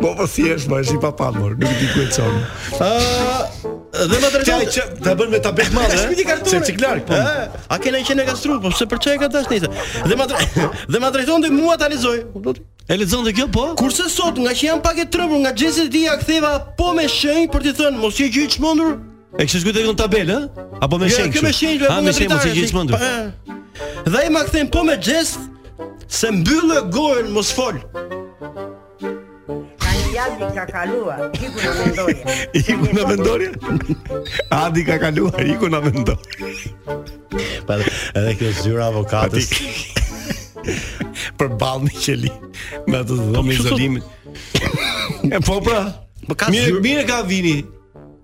Speaker 8: po po thjesht, më është i papamur, nuk e di ku e çon.
Speaker 6: Ë, dhe më
Speaker 8: Ta
Speaker 6: tregon.
Speaker 8: që ta bën me tablet madhe.
Speaker 6: Shpiti
Speaker 8: eh?
Speaker 6: kartone.
Speaker 8: Se ciklar, po.
Speaker 6: Ë, A kena qenë e kastru, po pse për çfarë e ka dash nice? Dhe ma dre- dhe ma drejtonte mua ta lexoj. Kupton?
Speaker 8: E lexon dhe kjo po?
Speaker 6: Kurse sot, nga që jam pak e trembur nga xhesit e tij, ja ktheva po me shenjë për t'i thënë mos je gjë i çmendur, E kishë shkruajtur në tabelë, ë? Apo me
Speaker 2: Jo,
Speaker 6: shenjë?
Speaker 2: kjo me
Speaker 6: kështu?
Speaker 2: shenjë, bra,
Speaker 6: Ah,
Speaker 2: po
Speaker 6: me
Speaker 2: nga
Speaker 6: shenjë, mos e
Speaker 2: dritare,
Speaker 6: gjithë
Speaker 2: si-
Speaker 6: mendur.
Speaker 2: pa, e. Dhe ai ma kthen po me gest se mbyllë gojën mos fol.
Speaker 9: Tani javë ka kaluar, hiku në mendojë.
Speaker 18: Iku në vendorje? Adi ka kaluar, iku në vendorje.
Speaker 2: Pa edhe kjo zyra avokatës.
Speaker 6: Për ballë me qeli. Me atë dhomë izolimin. E po pra.
Speaker 2: Po ka
Speaker 6: mirë,
Speaker 2: zyrë-
Speaker 6: mirë ka vini.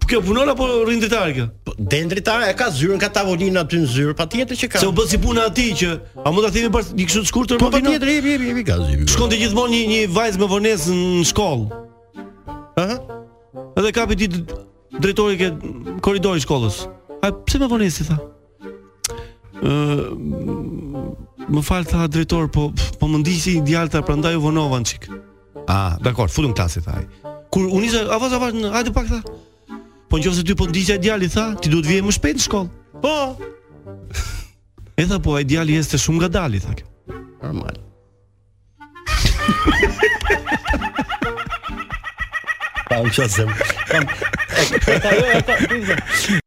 Speaker 6: Po kjo punon apo rrin dritar kjo?
Speaker 2: Po den dritare e ka zyrën, ka tavolinë aty në zyrë, patjetër që ka.
Speaker 6: Se u bë si puna aty që a mund ta themi pas një kështu të shkurtër
Speaker 2: Po
Speaker 6: më vino?
Speaker 2: patjetër, jepi, jepi, jepi ka zyrë.
Speaker 6: Shkonte gjithmonë një një vajzë me vonesë në shkollë.
Speaker 2: Ëh.
Speaker 6: Edhe kapi ti drejtori ke korridori i shkollës. A pse me vonesë tha? Ë më fal tha drejtor, po po më ndiqi djalta prandaj u vonova në çik. Ah, dakor, futëm klasi tha ai. Kur u nisë avaz avaz, në- hajde pak tha. Po nëse ty po ndiqja djali tha, ti duhet vije më shpejt në shkollë. Po. E tha po, ai djali jeste shumë ngadali tha kjo.
Speaker 2: Normal.
Speaker 6: Pa u qasem.
Speaker 2: Kam.
Speaker 6: E ka jo, e ka.